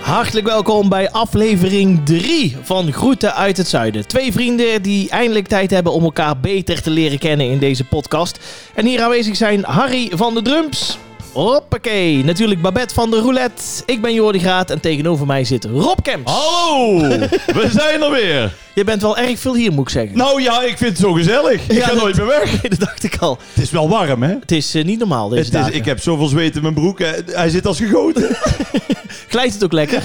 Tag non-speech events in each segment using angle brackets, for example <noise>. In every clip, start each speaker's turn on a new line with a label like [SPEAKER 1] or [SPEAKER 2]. [SPEAKER 1] Hartelijk welkom bij aflevering 3 van Groeten uit het Zuiden. Twee vrienden die eindelijk tijd hebben om elkaar beter te leren kennen in deze podcast. En hier aanwezig zijn Harry van de Drums. Hoppakee. Natuurlijk Babette van de Roulette. Ik ben Jordi Graat en tegenover mij zit Rob
[SPEAKER 2] Ah.
[SPEAKER 1] Kemps.
[SPEAKER 2] Hallo, <laughs> we zijn er weer.
[SPEAKER 1] Je bent wel erg veel hier, moet ik zeggen.
[SPEAKER 2] Nou ja, ik vind het zo gezellig. Ik
[SPEAKER 1] Ja,
[SPEAKER 2] ga
[SPEAKER 1] dat-
[SPEAKER 2] nooit meer
[SPEAKER 1] <laughs>
[SPEAKER 2] weg.
[SPEAKER 1] dat dacht ik al.
[SPEAKER 2] Het is wel warm, hè?
[SPEAKER 1] Het is eh, niet normaal deze
[SPEAKER 2] Het is,
[SPEAKER 1] dagen.
[SPEAKER 2] ik heb zoveel zweet in mijn broek. eh, Hij zit als gegoten.
[SPEAKER 1] Glijdt het ook lekker?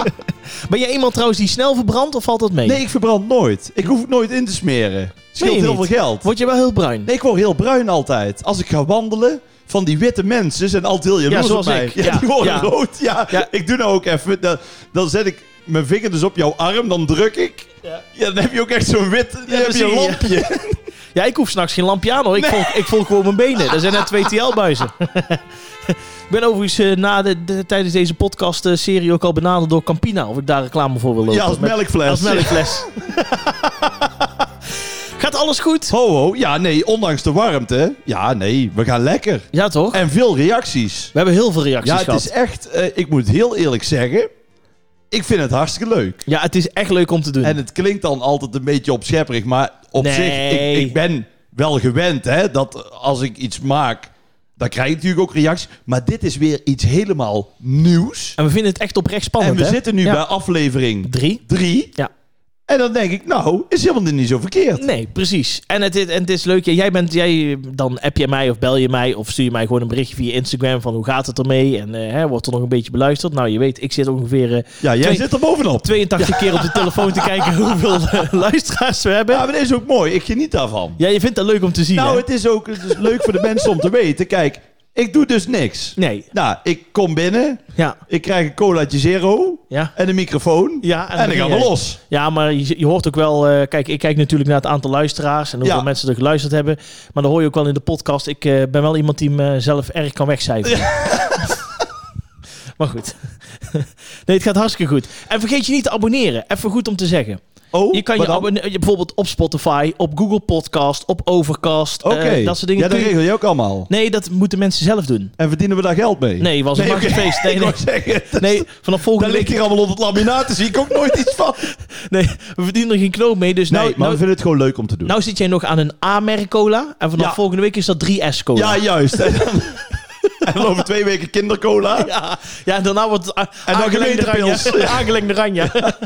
[SPEAKER 1] <laughs> ben jij iemand trouwens die snel verbrandt of valt dat mee?
[SPEAKER 2] <laughs> Nee, ik verbrand nooit. Ik hoef het nooit in te smeren. Het scheelt
[SPEAKER 1] Meen je
[SPEAKER 2] heel
[SPEAKER 1] niet?
[SPEAKER 2] veel geld.
[SPEAKER 1] Word je wel heel bruin?
[SPEAKER 2] Nee, ik word heel bruin altijd. Als ik ga wandelen, van die witte mensen zijn altijd heel jaloers
[SPEAKER 1] zoals
[SPEAKER 2] op mij.
[SPEAKER 1] ik.
[SPEAKER 2] Ja,
[SPEAKER 1] Ja,
[SPEAKER 2] die worden
[SPEAKER 1] ja.
[SPEAKER 2] rood. Ja.
[SPEAKER 1] Ja.
[SPEAKER 2] ik doe nou ook even... Dan, dan zet ik mijn vinger dus op jouw arm, dan druk ik.
[SPEAKER 1] Ja.
[SPEAKER 2] Ja. dan heb je ook echt zo'n wit... Dan heb je een
[SPEAKER 1] precies, ja.
[SPEAKER 2] lampje.
[SPEAKER 1] Ja, ik hoef s'nachts geen lampje aan hoor. Ik,
[SPEAKER 2] Nee.
[SPEAKER 1] volg, ik volg gewoon mijn benen. Er zijn net
[SPEAKER 2] <laughs>
[SPEAKER 1] twee TL-buizen. ik ben overigens eh, na de, de- tijdens deze podcast-serie ook al benaderd door Campina. Of ik daar reclame voor wil lopen.
[SPEAKER 2] Ja, als
[SPEAKER 1] Met-
[SPEAKER 2] melkfles.
[SPEAKER 1] Als melkfles. Gaat alles goed?
[SPEAKER 2] Ho, ho, ja, nee, ondanks de warmte. Ja, nee, we gaan lekker.
[SPEAKER 1] Ja, toch?
[SPEAKER 2] En veel reacties.
[SPEAKER 1] We hebben heel veel reacties
[SPEAKER 2] Ja, het
[SPEAKER 1] gehad.
[SPEAKER 2] is echt, eh, ik moet heel eerlijk zeggen, ik vind het hartstikke leuk.
[SPEAKER 1] Ja, het is echt leuk om te doen.
[SPEAKER 2] En het klinkt dan altijd een beetje opschepperig, maar op
[SPEAKER 1] Nee.
[SPEAKER 2] zich, ik, ik ben wel gewend hè, dat als ik iets maak, dan krijg ik natuurlijk ook reacties. Maar dit is weer iets helemaal nieuws.
[SPEAKER 1] En we vinden het echt oprecht spannend,
[SPEAKER 2] En we
[SPEAKER 1] hè?
[SPEAKER 2] zitten nu
[SPEAKER 1] Ja.
[SPEAKER 2] bij aflevering
[SPEAKER 1] Drie.
[SPEAKER 2] 3.
[SPEAKER 1] Ja.
[SPEAKER 2] En dan denk ik, nou, is helemaal niet zo verkeerd.
[SPEAKER 1] Nee, precies. En het, is- en het is leuk. Ja, Jij bent, jij, dan app je mij of bel je mij of stuur je mij gewoon een berichtje via Instagram van hoe gaat het ermee en eh, hè, wordt er nog een beetje beluisterd. Nou, je weet, ik zit ongeveer eh,
[SPEAKER 2] Ja, jij
[SPEAKER 1] Twee-
[SPEAKER 2] zit er bovenop.
[SPEAKER 1] 82 keer op de telefoon te kijken hoeveel eh, luisteraars we hebben.
[SPEAKER 2] Ja, maar dat is ook mooi. Ik geniet daarvan.
[SPEAKER 1] Ja, je vindt dat leuk om te zien.
[SPEAKER 2] Nou,
[SPEAKER 1] hè?
[SPEAKER 2] het is ook het is leuk voor de mensen om te weten. Kijk, ik doe dus niks.
[SPEAKER 1] Nee,
[SPEAKER 2] Nou, ik kom binnen,
[SPEAKER 1] ja,
[SPEAKER 2] ik krijg een colaatje zero
[SPEAKER 1] ja.
[SPEAKER 2] en een microfoon.
[SPEAKER 1] Ja,
[SPEAKER 2] en dan
[SPEAKER 1] begin
[SPEAKER 2] gaan we
[SPEAKER 1] jij.
[SPEAKER 2] los.
[SPEAKER 1] Ja, maar je, je hoort ook wel... eh, kijk, ik kijk natuurlijk naar het aantal luisteraars... en hoeveel
[SPEAKER 2] Ja.
[SPEAKER 1] mensen er geluisterd hebben. Maar dan hoor je ook wel in de podcast... ik eh, ben wel iemand die mezelf erg kan wegcijferen. <laughs> maar goed. <laughs> nee, het gaat hartstikke goed. En vergeet je niet te abonneren. Even goed om te zeggen.
[SPEAKER 2] Oh,
[SPEAKER 1] Je kan je
[SPEAKER 2] maar dan-
[SPEAKER 1] abonneren bijvoorbeeld op Spotify... op Google Podcast, op Overcast. eh,
[SPEAKER 2] Oké,
[SPEAKER 1] dat soort dingen.
[SPEAKER 2] ja, dat
[SPEAKER 1] kun je-
[SPEAKER 2] regel je ook allemaal.
[SPEAKER 1] Nee, dat moeten mensen zelf doen.
[SPEAKER 2] En verdienen we daar geld mee?
[SPEAKER 1] Nee, was een
[SPEAKER 2] Nee,
[SPEAKER 1] machtig
[SPEAKER 2] oké. <laughs>
[SPEAKER 1] feest. Nee,
[SPEAKER 2] ik
[SPEAKER 1] nee.
[SPEAKER 2] wou zeggen, dat-
[SPEAKER 1] Nee, vanaf
[SPEAKER 2] dat
[SPEAKER 1] volgende
[SPEAKER 2] ligt
[SPEAKER 1] week...
[SPEAKER 2] hier allemaal op het laminaat, daar zie ik ook nooit iets van.
[SPEAKER 1] <laughs> Nee, we verdienen er geen knoop mee. Dus
[SPEAKER 2] Nee,
[SPEAKER 1] nou,
[SPEAKER 2] maar
[SPEAKER 1] nou,
[SPEAKER 2] we vinden het gewoon leuk om te doen.
[SPEAKER 1] nou zit jij nog aan een A-merk cola. En vanaf
[SPEAKER 2] Ja.
[SPEAKER 1] volgende week is dat 3S cola.
[SPEAKER 2] ja, juist. En dan, <laughs> en dan over twee weken kindercola.
[SPEAKER 1] Ja, ja en daarna wordt het a-
[SPEAKER 2] En dan
[SPEAKER 1] aangelengde <laughs>
[SPEAKER 2] gemeentepils.
[SPEAKER 1] ranja. Aangelengde ranja.
[SPEAKER 2] <laughs>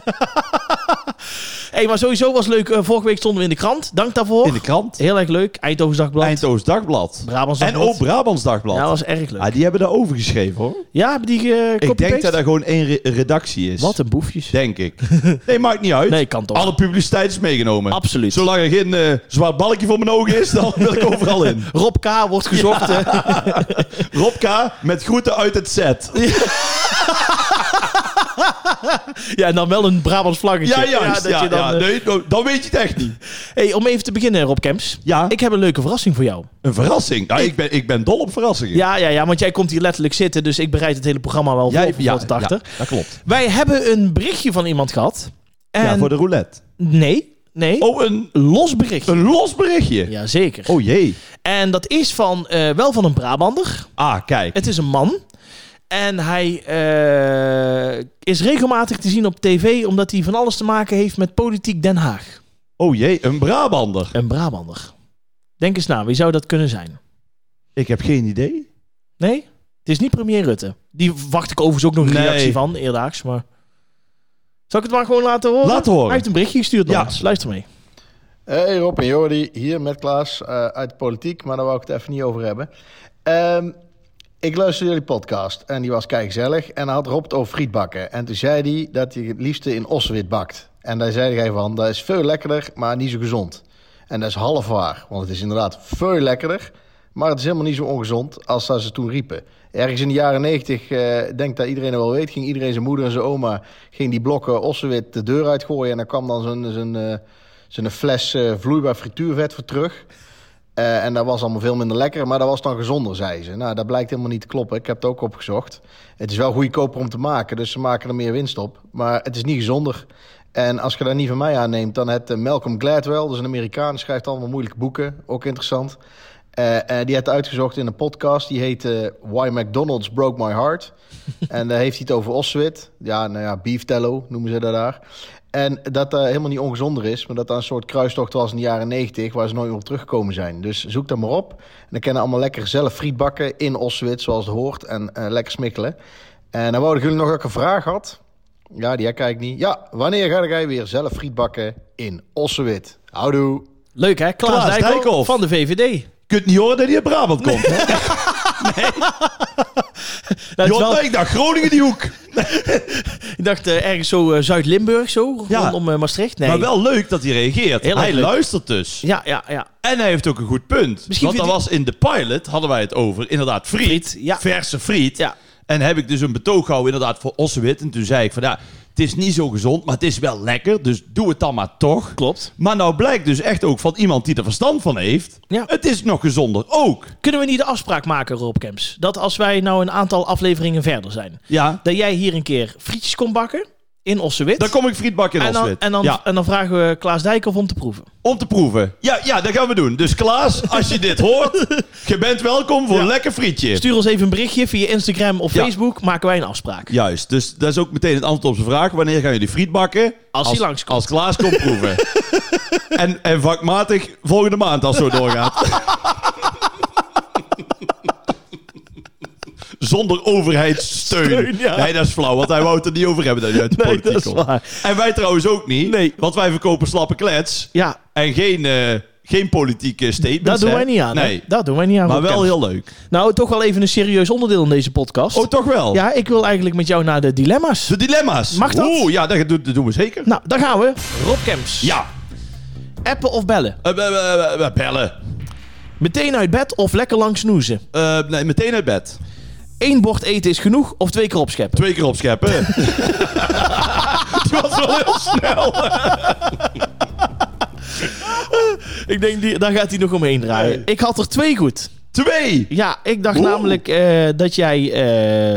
[SPEAKER 1] hey, maar sowieso was leuk. Eh, vorige week stonden we in de krant. Dank daarvoor.
[SPEAKER 2] In de krant.
[SPEAKER 1] Heel erg leuk. Eindhoven Dagblad.
[SPEAKER 2] Eindhoofds Dagblad.
[SPEAKER 1] Brabants
[SPEAKER 2] En
[SPEAKER 1] Dagblad.
[SPEAKER 2] ook Brabants Dagblad.
[SPEAKER 1] Ja, dat was erg leuk.
[SPEAKER 2] Ah, die hebben daarover geschreven hoor.
[SPEAKER 1] Ja, hebben die eh
[SPEAKER 2] Ik denk dat
[SPEAKER 1] copy-paste?
[SPEAKER 2] er gewoon één re- redactie is.
[SPEAKER 1] Wat een boefjes. <laughs>
[SPEAKER 2] Denk ik. Nee, maakt niet uit.
[SPEAKER 1] Nee, kan toch.
[SPEAKER 2] Alle publiciteit is meegenomen.
[SPEAKER 1] Absoluut.
[SPEAKER 2] Zolang er geen eh, zwart balkje voor mijn ogen
[SPEAKER 1] <laughs>
[SPEAKER 2] is, dan wil ik overal in.
[SPEAKER 1] Rob K. wordt gezocht. eh.
[SPEAKER 2] Rob K. met groeten uit het
[SPEAKER 1] <laughs>
[SPEAKER 2] set.
[SPEAKER 1] Ja, en dan wel een Brabants vlaggetje.
[SPEAKER 2] Ja, juist.
[SPEAKER 1] dat
[SPEAKER 2] Ja,
[SPEAKER 1] je dan,
[SPEAKER 2] ja.
[SPEAKER 1] eh,
[SPEAKER 2] Nee, nou, dan weet je het echt niet.
[SPEAKER 1] hey, om even te beginnen, Rob Kemps.
[SPEAKER 2] Ja,
[SPEAKER 1] Ik heb een leuke verrassing voor jou.
[SPEAKER 2] een verrassing. Nou, ik, ben, ik ben dol op verrassingen.
[SPEAKER 1] Ja, ja, ja, want jij komt hier letterlijk zitten, dus ik bereid het hele programma wel voor, voor tot achter.
[SPEAKER 2] ja, dat klopt.
[SPEAKER 1] Wij hebben een berichtje van iemand gehad. En
[SPEAKER 2] Ja, voor de roulette.
[SPEAKER 1] Nee, nee.
[SPEAKER 2] Oh, een,
[SPEAKER 1] Los berichtje.
[SPEAKER 2] een los berichtje.
[SPEAKER 1] Jazeker.
[SPEAKER 2] Oh jee.
[SPEAKER 1] En dat is van, eh, wel van een Brabander.
[SPEAKER 2] Ah, kijk.
[SPEAKER 1] Het is een man. En hij eh, is regelmatig te zien op tv, omdat hij van alles te maken heeft met politiek Den Haag.
[SPEAKER 2] Oh jee, een Brabander.
[SPEAKER 1] Een Brabander. Denk eens na, wie zou dat kunnen zijn?
[SPEAKER 2] Ik heb geen idee.
[SPEAKER 1] Nee? Het is niet premier Rutte. Die wacht ik overigens ook nog een
[SPEAKER 2] Nee.
[SPEAKER 1] reactie van, eerdaags. Maar... Zal ik het maar gewoon laten horen?
[SPEAKER 2] Laat horen.
[SPEAKER 1] Hij heeft een berichtje gestuurd naar
[SPEAKER 2] Ja.
[SPEAKER 1] ons. Luister mee.
[SPEAKER 3] Hey Rob en Jordi, hier met Klaas eh, uit de politiek, maar daar wou ik het even niet over hebben. Ehm, ik luisterde jullie podcast en die was gezellig. En dan had Rob het over frietbakken. En toen zei hij dat hij het liefste in ossenwit bakt. En daar zei hij van, dat is veel lekkerder, maar niet zo gezond. En dat is half waar, want het is inderdaad veel lekkerder... maar het is helemaal niet zo ongezond als dat ze toen riepen. Ergens in de jaren negentig, eh denk dat iedereen het wel weet... ging iedereen zijn moeder en zijn oma ging die blokken ossenwit de deur uitgooien... en dan kwam dan zo'n... zo'n, eh, zijn een fles eh, vloeibaar frituurvet voor terug. Eh, en dat was allemaal veel minder lekker, maar dat was dan gezonder, zei ze. Nou, dat blijkt helemaal niet te kloppen. Ik heb het ook opgezocht. Het is wel goedkoper om te maken, dus ze maken er meer winst op. Maar het is niet gezonder. En als je dat niet van eh, mij aanneemt, dan het Malcolm Gladwell, dus een Amerikaan, schrijft allemaal moeilijke boeken. Ook interessant. Eh, eh, die had uitgezocht in een podcast. Die heette Why McDonald's Broke My Heart. <laughs> en daar heeft hij het over Oswit. Ja, nou ja, beef tallow noemen ze dat daar. En dat dat helemaal niet ongezonder is. Maar dat dat een soort kruistocht was in de jaren 90 Waar ze nooit meer op teruggekomen zijn. Dus zoek dat maar op. En dan kennen allemaal lekker zelf frietbakken in Oswit. Zoals het hoort. En eh, lekker smikkelen. En dan wou ik jullie nog dat ik een vraag had. Ja, die heb ik eigenlijk niet. Ja, wanneer ga jij weer zelf frietbakken in Ossewit? Houdoe!
[SPEAKER 1] Leuk hè? Klaas,
[SPEAKER 2] Klaas
[SPEAKER 1] Dijkhoff
[SPEAKER 2] Dijkhoff.
[SPEAKER 1] van de VVD.
[SPEAKER 2] kunt niet horen dat hij uit Brabant komt. hè?
[SPEAKER 1] Nou, <laughs> het is
[SPEAKER 2] Joh,
[SPEAKER 1] wel-
[SPEAKER 2] nee, ik dacht Groningen die hoek.
[SPEAKER 1] ik dacht eh, ergens zo eh, Zuid-Limburg, zo
[SPEAKER 2] Ja.
[SPEAKER 1] rondom eh, Maastricht. Nee.
[SPEAKER 2] Maar wel leuk dat hij reageert.
[SPEAKER 1] Heel erg
[SPEAKER 2] hij
[SPEAKER 1] leuk.
[SPEAKER 2] luistert dus.
[SPEAKER 1] Ja, ja, ja.
[SPEAKER 2] En hij heeft ook een goed punt.
[SPEAKER 1] Misschien
[SPEAKER 2] want dat was in de pilot, hadden wij het over, inderdaad, friet.
[SPEAKER 1] Friet, ja.
[SPEAKER 2] Verse friet.
[SPEAKER 1] Ja.
[SPEAKER 2] En heb ik dus een betoog gehouden inderdaad voor Ossewit. En toen zei ik van, ja, het is niet zo gezond, maar het is wel lekker. Dus doe het dan maar toch.
[SPEAKER 1] Klopt.
[SPEAKER 2] Maar nou blijkt dus echt ook van iemand die er verstand van heeft.
[SPEAKER 1] Ja.
[SPEAKER 2] Het is nog gezonder ook.
[SPEAKER 1] Kunnen we niet de afspraak maken, Rob Kemps? Dat als wij nou een aantal afleveringen verder zijn,
[SPEAKER 2] Ja.
[SPEAKER 1] dat jij hier een keer frietjes komt bakken in Ossewit.
[SPEAKER 2] Dan kom ik frietbak in
[SPEAKER 1] en dan,
[SPEAKER 2] Ossewit.
[SPEAKER 1] en, dan,
[SPEAKER 2] Ja,
[SPEAKER 1] en dan vragen we Klaas Dijkhoff om te proeven.
[SPEAKER 2] om te proeven. Ja, ja, dat gaan we doen. Dus Klaas, als je dit
[SPEAKER 1] <laughs>
[SPEAKER 2] hoort, je bent welkom voor een lekker frietje.
[SPEAKER 1] Stuur ons even een berichtje via Instagram of
[SPEAKER 2] Ja.
[SPEAKER 1] Facebook. Maken wij een afspraak.
[SPEAKER 2] Juist, dus dat is ook meteen het antwoord op zijn vraag. Wanneer gaan jullie friet bakken?
[SPEAKER 1] Als hij langskomt.
[SPEAKER 2] Als Klaas komt
[SPEAKER 1] <laughs>
[SPEAKER 2] proeven. en, en vakmatig volgende maand als het zo doorgaat.
[SPEAKER 1] <laughs>
[SPEAKER 2] Zonder overheidssteun.
[SPEAKER 1] Steun, ja.
[SPEAKER 2] Nee, dat is flauw, want hij wou het er niet over hebben dat hij uit de
[SPEAKER 1] Nee,
[SPEAKER 2] politiek
[SPEAKER 1] dat is
[SPEAKER 2] komt.
[SPEAKER 1] waar.
[SPEAKER 2] En wij trouwens ook niet,
[SPEAKER 1] Nee.
[SPEAKER 2] want wij verkopen slappe klets
[SPEAKER 1] Ja,
[SPEAKER 2] en geen, eh, geen politieke statements.
[SPEAKER 1] dat doen
[SPEAKER 2] hè?
[SPEAKER 1] wij niet aan. hè?
[SPEAKER 2] Nee,
[SPEAKER 1] Dat doen wij niet aan.
[SPEAKER 2] maar
[SPEAKER 1] Rob
[SPEAKER 2] wel
[SPEAKER 1] Kemps.
[SPEAKER 2] heel leuk.
[SPEAKER 1] Nou, toch wel even een serieus onderdeel in deze podcast.
[SPEAKER 2] Oh, toch wel?
[SPEAKER 1] ja, ik wil eigenlijk met jou naar de dilemma's.
[SPEAKER 2] De dilemma's.
[SPEAKER 1] Mag dat?
[SPEAKER 2] Oeh, ja, dat, dat doen we zeker.
[SPEAKER 1] Nou, daar gaan we. Rob Kemps.
[SPEAKER 2] Ja.
[SPEAKER 1] Appen of bellen?
[SPEAKER 2] Eh, eh, eh, eh, eh, bellen.
[SPEAKER 1] Meteen uit bed of lekker lang snoezen?
[SPEAKER 2] Eh, nee, meteen uit bed.
[SPEAKER 1] Eén bord eten is genoeg of twee keer opscheppen?
[SPEAKER 2] Twee keer
[SPEAKER 1] <laughs>
[SPEAKER 2] opscheppen. <laughs> Het was wel heel snel.
[SPEAKER 1] Ik denk, die, daar gaat hij nog omheen draaien.
[SPEAKER 2] Nee.
[SPEAKER 1] Eh, Ik had er twee goed.
[SPEAKER 2] Twee.
[SPEAKER 1] Ja, ik dacht
[SPEAKER 2] Oeh.
[SPEAKER 1] namelijk eh, dat jij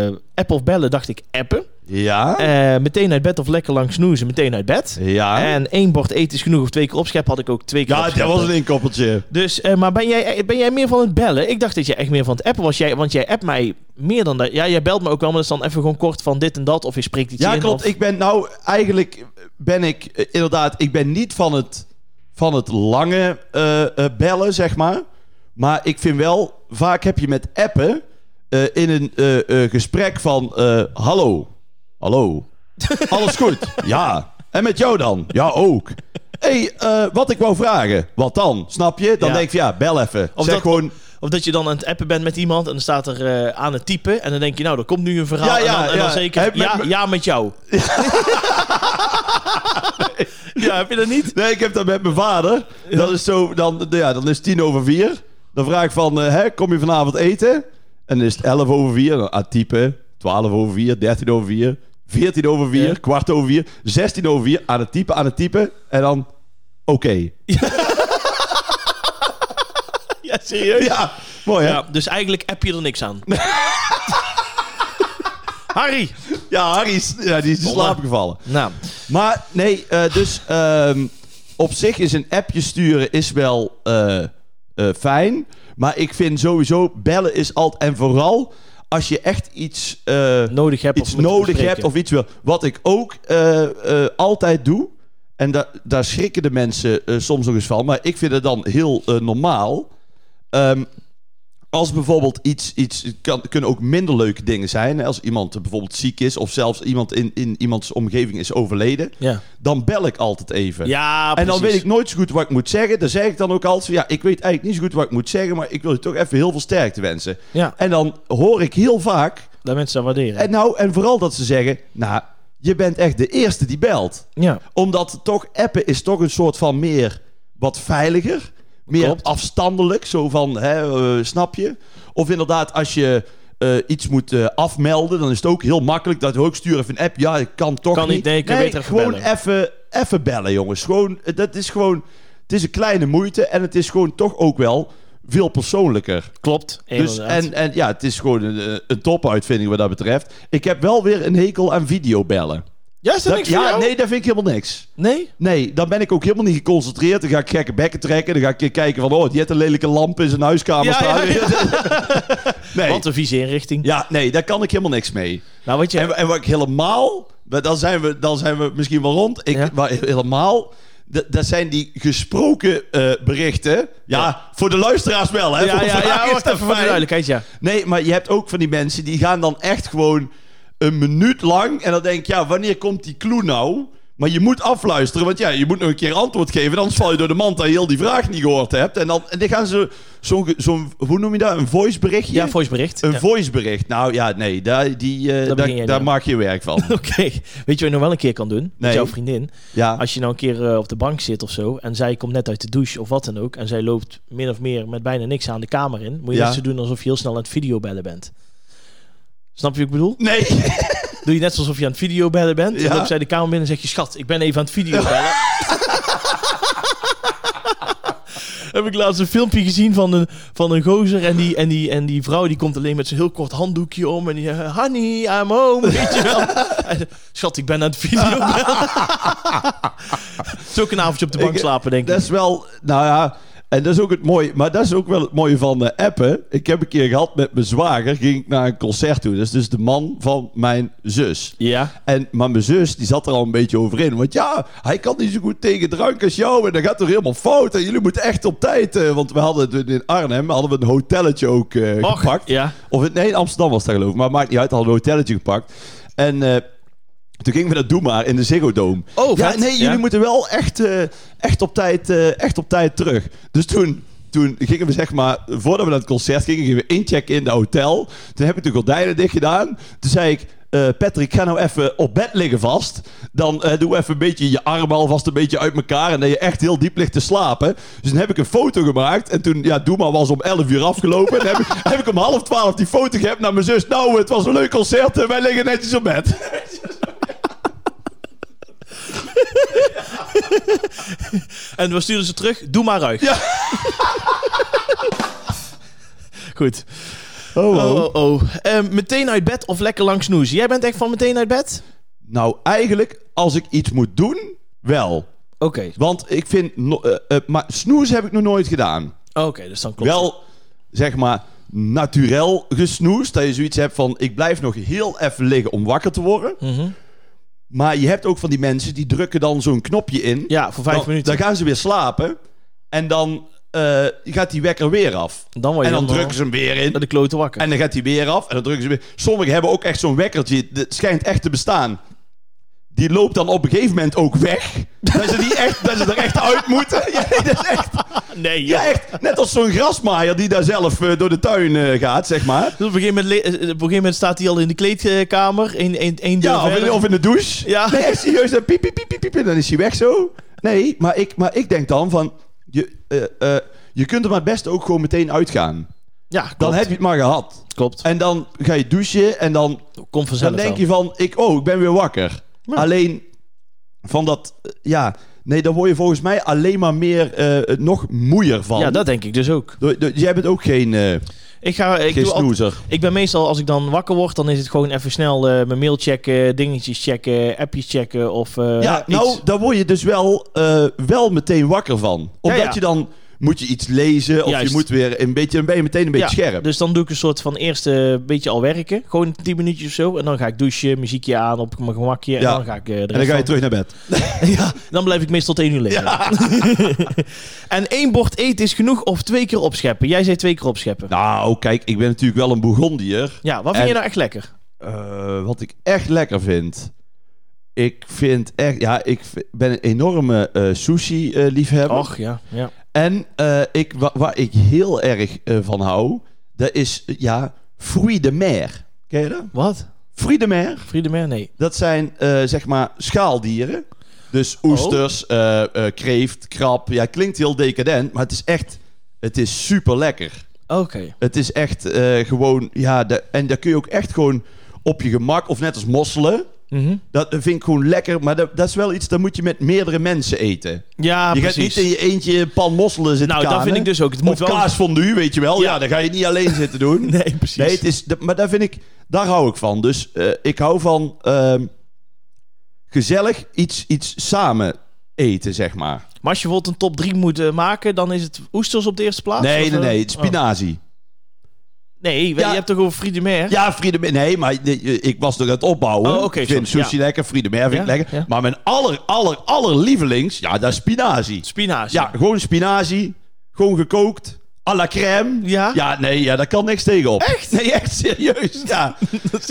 [SPEAKER 1] eh, app of bellen, dacht ik appen.
[SPEAKER 2] Ja.
[SPEAKER 1] Eh, meteen uit bed of lekker lang snoezen, meteen uit bed.
[SPEAKER 2] Ja.
[SPEAKER 1] En één bord eten is genoeg of twee keer opscheppen had ik ook twee keer
[SPEAKER 2] Ja, dat
[SPEAKER 1] opscheppen.
[SPEAKER 2] was een inkoppeltje.
[SPEAKER 1] Dus, eh, maar ben jij, ben jij meer van het bellen? Ik dacht dat jij echt meer van het appen was. Jij, want jij appt mij meer dan dat. Ja, jij belt me ook wel, maar dat is dan even gewoon kort van dit en dat. Of je spreekt iets in.
[SPEAKER 2] Ja, klopt.
[SPEAKER 1] of-
[SPEAKER 2] Ik ben nou... Eigenlijk ben ik eh, inderdaad... Ik ben niet van het, van het lange eh, eh, bellen, zeg maar. Maar ik vind wel... Vaak heb je met appen... eh, in een eh, eh, gesprek van... eh, hallo. Hallo.
[SPEAKER 1] <laughs>
[SPEAKER 2] Alles goed? Ja. En met jou dan? Ja, ook. hey, eh, wat ik wou vragen. Wat dan? Snap je? Dan
[SPEAKER 1] Ja.
[SPEAKER 2] denk ik van, ja, bel even. Of
[SPEAKER 1] Of
[SPEAKER 2] zeg
[SPEAKER 1] dat-
[SPEAKER 2] gewoon...
[SPEAKER 1] Of dat je dan aan het appen bent met iemand en dan staat er eh, aan het typen. En dan denk je, nou, er komt nu een verhaal.
[SPEAKER 2] Ja, ja,
[SPEAKER 1] en dan, en
[SPEAKER 2] ja.
[SPEAKER 1] dan zeker,
[SPEAKER 2] Heb- met-
[SPEAKER 1] ja,
[SPEAKER 2] met-
[SPEAKER 1] ja, met jou. <laughs> ja, heb je dat niet?
[SPEAKER 2] Nee, ik heb dat met mijn vader. Dat is zo, dan, ja, dan is het tien over vier. Dan vraag ik van, eh, hè, kom je vanavond eten? En dan is het elf over vier. Dan ah, typen, twaalf over vier, dertien over vier, veertien over vier,
[SPEAKER 1] Ja.
[SPEAKER 2] kwart over vier, zestien over vier. Aan het typen, aan het typen. En dan, oké.
[SPEAKER 1] Ja, serieus? Ja.
[SPEAKER 2] Ja, mooi hè? Ja,
[SPEAKER 1] dus eigenlijk app je er niks aan. Harry.
[SPEAKER 2] <laughs> Harry is, ja, die is in slaap gevallen.
[SPEAKER 1] Nou,
[SPEAKER 2] Maar nee, eh, dus ehm, op zich is een appje sturen is wel eh, eh, fijn. Maar ik vind sowieso bellen is altijd... En vooral als je echt iets, eh,
[SPEAKER 1] nodig hebt
[SPEAKER 2] iets
[SPEAKER 1] of moet
[SPEAKER 2] nodig
[SPEAKER 1] bespreken.
[SPEAKER 2] hebt of iets wil. Wat ik ook eh, eh, altijd doe... En da- daar schrikken de mensen eh, soms nog eens van. Maar ik vind het dan heel eh, normaal. Ehm, als bijvoorbeeld iets, iets het kan, kunnen ook minder leuke dingen zijn. hè. Als iemand eh, bijvoorbeeld ziek is of zelfs iemand in, in iemands omgeving is overleden,
[SPEAKER 1] Ja,
[SPEAKER 2] dan bel ik altijd even.
[SPEAKER 1] ja
[SPEAKER 2] en dan
[SPEAKER 1] precies.
[SPEAKER 2] weet ik nooit zo goed wat ik moet zeggen. Dan zeg ik dan ook altijd, van, ja, ik weet eigenlijk niet zo goed wat ik moet zeggen, maar ik wil je toch even heel veel sterkte wensen.
[SPEAKER 1] Ja,
[SPEAKER 2] En dan hoor ik heel vaak,
[SPEAKER 1] dat mensen dat waarderen.
[SPEAKER 2] en nou, en vooral dat ze zeggen, nou, je bent echt de eerste die belt
[SPEAKER 1] ja.
[SPEAKER 2] omdat toch appen is toch een soort van meer wat veiliger. Meer
[SPEAKER 1] Klopt.
[SPEAKER 2] afstandelijk. Zo van, hè, eh, snap je? Of inderdaad, als je eh, iets moet eh, afmelden, dan is het ook heel makkelijk. Dat we ook sturen even een app. Ja, ik kan toch
[SPEAKER 1] Kan niet, nee, ik kan beter even
[SPEAKER 2] gewoon
[SPEAKER 1] bellen.
[SPEAKER 2] even, even bellen, jongens. Gewoon, eh, dat is gewoon... Het is een kleine moeite en het is gewoon toch ook wel veel persoonlijker.
[SPEAKER 1] Klopt.
[SPEAKER 2] Dus,
[SPEAKER 1] inderdaad.
[SPEAKER 2] en, en ja, het is gewoon een, eh, een topuitvinding wat dat betreft. Ik heb wel weer een hekel aan videobellen.
[SPEAKER 1] Ja, is dat,
[SPEAKER 2] Dat-
[SPEAKER 1] niks voor
[SPEAKER 2] ja,
[SPEAKER 1] jou?
[SPEAKER 2] nee, dat vind ik helemaal niks.
[SPEAKER 1] Nee?
[SPEAKER 2] Nee, dan ben ik ook helemaal niet geconcentreerd. Dan ga ik gekke bekken trekken. Dan ga ik kijken van, oh, die heeft een lelijke lamp in zijn huiskamer
[SPEAKER 1] Ja,
[SPEAKER 2] staan.
[SPEAKER 1] ja,
[SPEAKER 2] <laughs> nee.
[SPEAKER 1] Wat een vieze inrichting.
[SPEAKER 2] Ja, nee, daar kan ik helemaal niks mee.
[SPEAKER 1] Nou, wat je...
[SPEAKER 2] En, en wat ik helemaal, maar dan zijn we, dan zijn we misschien wel rond. Ik,
[SPEAKER 1] Ja.
[SPEAKER 2] maar helemaal, dat, dat zijn die gesproken eh, berichten. Ja,
[SPEAKER 1] Ja.
[SPEAKER 2] voor de luisteraars wel, hè?
[SPEAKER 1] ja,
[SPEAKER 2] Voor
[SPEAKER 1] ja,
[SPEAKER 2] mij
[SPEAKER 1] ja,
[SPEAKER 2] is
[SPEAKER 1] wacht
[SPEAKER 2] dat
[SPEAKER 1] even voor de
[SPEAKER 2] fijn.
[SPEAKER 1] duidelijkheid, ja.
[SPEAKER 2] Nee, maar je hebt ook van die mensen die gaan dan echt gewoon een minuut lang. En dan denk ik, ja, wanneer komt die clue nou? Maar je moet afluisteren, want ja, je moet nog een keer antwoord geven. Anders val je door de mand dat je heel die vraag niet gehoord hebt. En dan, en dan gaan ze zo'n, ge- zo'n, hoe noem je dat? Een voiceberichtje?
[SPEAKER 1] Ja, voicebericht.
[SPEAKER 2] Een
[SPEAKER 1] Ja. <laughs>
[SPEAKER 2] voicebericht. Nou ja, nee, daar, die, eh,
[SPEAKER 1] Daar
[SPEAKER 2] daar,
[SPEAKER 1] begin jij
[SPEAKER 2] daar
[SPEAKER 1] niet
[SPEAKER 2] maak je werk van.
[SPEAKER 1] Oké, weet je wat je nog wel een keer kan doen? Met
[SPEAKER 2] Nee.
[SPEAKER 1] jouw vriendin.
[SPEAKER 2] ja.
[SPEAKER 1] Als je nou een keer eh, op de bank zit of zo... en zij komt net uit de douche of wat dan ook... en zij loopt min of meer met bijna niks aan de kamer in... moet je
[SPEAKER 2] Ja.
[SPEAKER 1] net zo doen alsof je heel snel aan het videobellen bent. Snap je wat ik bedoel?
[SPEAKER 2] Nee,
[SPEAKER 1] Doe je net alsof je aan het videobellen bent...
[SPEAKER 2] Ja.
[SPEAKER 1] en loopt zij de kamer binnen en zeg je... schat, ik ben even aan het
[SPEAKER 2] <laughs>
[SPEAKER 1] videobellen. Heb ik laatst een filmpje gezien van een, van een gozer en die, en, die, en die vrouw die komt alleen met zo'n heel kort handdoekje om en die zegt, honey, I'm home, weet je
[SPEAKER 2] <laughs>
[SPEAKER 1] wel. En, Schat, ik ben aan het video. Zo ook een avondje op de bank
[SPEAKER 2] Ik-
[SPEAKER 1] slapen, denk ik.
[SPEAKER 2] dat is wel, nou ja, en dat is ook het mooie. Maar dat is ook wel het mooie van de appen. Ik heb een keer gehad met mijn zwager, ging ik naar een concert toe. Dat is dus de man van mijn zus.
[SPEAKER 1] Ja.
[SPEAKER 2] En, maar mijn zus die zat er al een beetje over in. Want ja, hij kan niet zo goed tegen drank als jou. En dat gaat toch helemaal fout. En jullie moeten echt op tijd. eh, want we hadden het in Arnhem hadden we een hotelletje ook eh,
[SPEAKER 1] Och,
[SPEAKER 2] gepakt.
[SPEAKER 1] ja.
[SPEAKER 2] Of in, nee, in Amsterdam was dat geloof ik. Maar maakt niet uit, hadden we een hotelletje gepakt. En eh, toen gingen we naar Doe maar in de Ziggo Dome.
[SPEAKER 1] Oh,
[SPEAKER 2] ja,
[SPEAKER 1] vet.
[SPEAKER 2] nee, jullie
[SPEAKER 1] Ja.
[SPEAKER 2] moeten wel echt, eh, echt, op tijd, eh, echt op tijd terug. Dus toen, toen gingen we zeg maar, voordat we naar het concert gingen, gingen we inchecken in de hotel. Toen heb ik de gordijnen dicht gedaan. Toen zei ik, eh, Patrick, ga nou even op bed liggen vast. Dan eh, doe even een beetje je armen alvast een beetje uit elkaar. En dat je echt heel diep ligt te slapen. Dus dan heb ik een foto gemaakt. En toen, ja, Doe maar was om 11 uur afgelopen. En dan heb ik, <laughs> heb ik om half 12 die foto gegeven naar mijn zus. Nou, het was een leuk concert. En wij liggen netjes op bed.
[SPEAKER 1] En we sturen ze terug, doe maar uit.
[SPEAKER 2] Ja.
[SPEAKER 1] <laughs> Goed. Oh, oh, oh. Eh, meteen uit bed of lekker lang snoezen? Jij bent echt van meteen uit bed?
[SPEAKER 2] Nou, eigenlijk, als ik iets moet doen, wel.
[SPEAKER 1] Oké.
[SPEAKER 2] Want ik vind... no- eh, eh, maar snoezen heb ik nog nooit gedaan.
[SPEAKER 1] Oké, dus dan klopt
[SPEAKER 2] Wel, zeg maar, naturel gesnoest. Dat je zoiets hebt van... Ik blijf nog heel even liggen om wakker te worden.
[SPEAKER 1] het. Mhm.
[SPEAKER 2] Maar je hebt ook van die mensen... die drukken dan zo'n knopje in.
[SPEAKER 1] Ja, voor vijf
[SPEAKER 2] dan,
[SPEAKER 1] minuten.
[SPEAKER 2] Dan gaan ze weer slapen. En dan eh, gaat die wekker weer af.
[SPEAKER 1] Dan word je
[SPEAKER 2] en dan
[SPEAKER 1] helemaal
[SPEAKER 2] drukken ze hem weer in.
[SPEAKER 1] naar de klote wakker.
[SPEAKER 2] En dan gaat hij weer af. En dan drukken ze weer. Sommigen hebben ook echt zo'n wekkertje. Het schijnt echt te bestaan. Die loopt dan op een gegeven moment ook weg. Dat ze, die echt, dat ze er echt uit moeten. Ja, nee, dat is echt,
[SPEAKER 1] nee,
[SPEAKER 2] ja, echt. Net als zo'n grasmaaier die daar zelf eh, door de tuin eh, gaat, zeg maar.
[SPEAKER 1] Dus op, een gegeven moment, le- eh, op een gegeven moment staat hij al in de kleedkamer. Een, een, een deur
[SPEAKER 2] Ja, of in,
[SPEAKER 1] verder.
[SPEAKER 2] of in de douche.
[SPEAKER 1] Ja.
[SPEAKER 2] Nee, echt serieus. Dan piep, piep, piep, piep, piep, en dan is hij weg zo. Nee, maar ik, maar ik denk dan van... Je, eh, eh, je kunt er maar het beste ook gewoon meteen uitgaan.
[SPEAKER 1] ja, klopt.
[SPEAKER 2] Dan heb je het maar gehad.
[SPEAKER 1] klopt.
[SPEAKER 2] En dan ga je douchen en dan
[SPEAKER 1] Komt vanzelf
[SPEAKER 2] Dan denk
[SPEAKER 1] wel.
[SPEAKER 2] je van, ik, oh, ik ben weer wakker.
[SPEAKER 1] Ja.
[SPEAKER 2] Alleen van dat, eh, ja, nee, daar word je volgens mij alleen maar meer, eh, nog moeier van.
[SPEAKER 1] Ja, dat denk ik dus ook.
[SPEAKER 2] Door- door- jij bent ook geen, eh
[SPEAKER 1] Ik, ga, ik,
[SPEAKER 2] geen
[SPEAKER 1] doe al,
[SPEAKER 2] snoezer.
[SPEAKER 1] ik ben meestal, als ik dan wakker word, dan is het gewoon even snel eh, mijn mail checken, dingetjes checken, appjes checken of eh,
[SPEAKER 2] ja,
[SPEAKER 1] iets.
[SPEAKER 2] nou, daar word je dus wel, eh, wel meteen wakker van. Omdat
[SPEAKER 1] ja.
[SPEAKER 2] je dan moet je iets lezen of
[SPEAKER 1] Juist.
[SPEAKER 2] je moet weer een beetje, dan ben je meteen een beetje
[SPEAKER 1] Ja,
[SPEAKER 2] scherp.
[SPEAKER 1] Dus dan doe ik een soort van eerst een beetje al werken. Gewoon 10 minuutjes of zo. En dan ga ik douchen, muziekje aan op mijn gemakje. En
[SPEAKER 2] Ja.
[SPEAKER 1] dan ga ik eh, de
[SPEAKER 2] en dan
[SPEAKER 1] rest
[SPEAKER 2] ga je
[SPEAKER 1] van-
[SPEAKER 2] terug naar bed.
[SPEAKER 1] <laughs> Ja, dan blijf ik meestal tot één uur liggen. <laughs> en één bord eten is genoeg of twee keer opscheppen? Jij zei twee keer opscheppen.
[SPEAKER 2] Nou, kijk, ik ben natuurlijk wel een Bourgondier.
[SPEAKER 1] ja, wat vind
[SPEAKER 2] en-
[SPEAKER 1] je nou echt lekker?
[SPEAKER 2] Eh, wat ik echt lekker vind. Ik vind echt, ja, ik v- ben een enorme eh, sushi-liefhebber.
[SPEAKER 1] Och, ja. ja.
[SPEAKER 2] En eh, ik, wa- waar ik heel erg eh, van hou, dat is, eh, ja, fruit de mer. Ken je dat?
[SPEAKER 1] Wat?
[SPEAKER 2] Fruit de mer,
[SPEAKER 1] Friedemer? Nee.
[SPEAKER 2] dat zijn, eh, zeg maar, schaaldieren. Dus oesters, eh, eh, kreeft, krab. Ja, klinkt heel decadent, maar het is echt, het is super lekker.
[SPEAKER 1] Oké.
[SPEAKER 2] Het is echt eh, gewoon, ja, de, en daar kun je ook echt gewoon op je gemak, of net als mosselen.
[SPEAKER 1] Mhm.
[SPEAKER 2] Dat vind ik gewoon lekker, maar dat, dat is wel iets, dat moet je met meerdere mensen eten.
[SPEAKER 1] Ja,
[SPEAKER 2] je gaat
[SPEAKER 1] precies.
[SPEAKER 2] niet in je eentje een pan mosselen zitten
[SPEAKER 1] nou, dat
[SPEAKER 2] kanen.
[SPEAKER 1] vind ik dus ook. Het moet
[SPEAKER 2] Of
[SPEAKER 1] wel...
[SPEAKER 2] kaasfondue, weet je wel.
[SPEAKER 1] Ja.
[SPEAKER 2] Ja, dat ga je niet alleen zitten doen. nee,
[SPEAKER 1] <laughs> Nee, precies.
[SPEAKER 2] het is, dat- maar daar vind ik... Daar hou ik van. Dus eh, ik hou van... ehm, gezellig iets, iets samen eten, zeg maar.
[SPEAKER 1] Maar als je bijvoorbeeld een top 3 moet eh, maken, dan is het oesters op de eerste plaats?
[SPEAKER 2] nee,
[SPEAKER 1] of,
[SPEAKER 2] nee,
[SPEAKER 1] eh?
[SPEAKER 2] nee, het
[SPEAKER 1] Oh.
[SPEAKER 2] spinazie.
[SPEAKER 1] Nee, we-
[SPEAKER 2] Ja.
[SPEAKER 1] je hebt toch over Friede Meer?
[SPEAKER 2] Ja, Friede Meer. Nee, maar nee, ik was nog aan het opbouwen.
[SPEAKER 1] Oh, oké,
[SPEAKER 2] ik vind
[SPEAKER 1] sorry,
[SPEAKER 2] sushi
[SPEAKER 1] ja.
[SPEAKER 2] lekker, Friede Meer vind ik
[SPEAKER 1] Ja,
[SPEAKER 2] lekker.
[SPEAKER 1] ja.
[SPEAKER 2] Maar mijn aller, aller, aller lievelings, ja, dat is spinazie.
[SPEAKER 1] Spinazie.
[SPEAKER 2] Ja, gewoon spinazie, gewoon gekookt, à la crème.
[SPEAKER 1] Ja?
[SPEAKER 2] Ja, nee, ja, daar kan niks tegen op. Echt? Nee, echt serieus,
[SPEAKER 1] <laughs>
[SPEAKER 2] ja.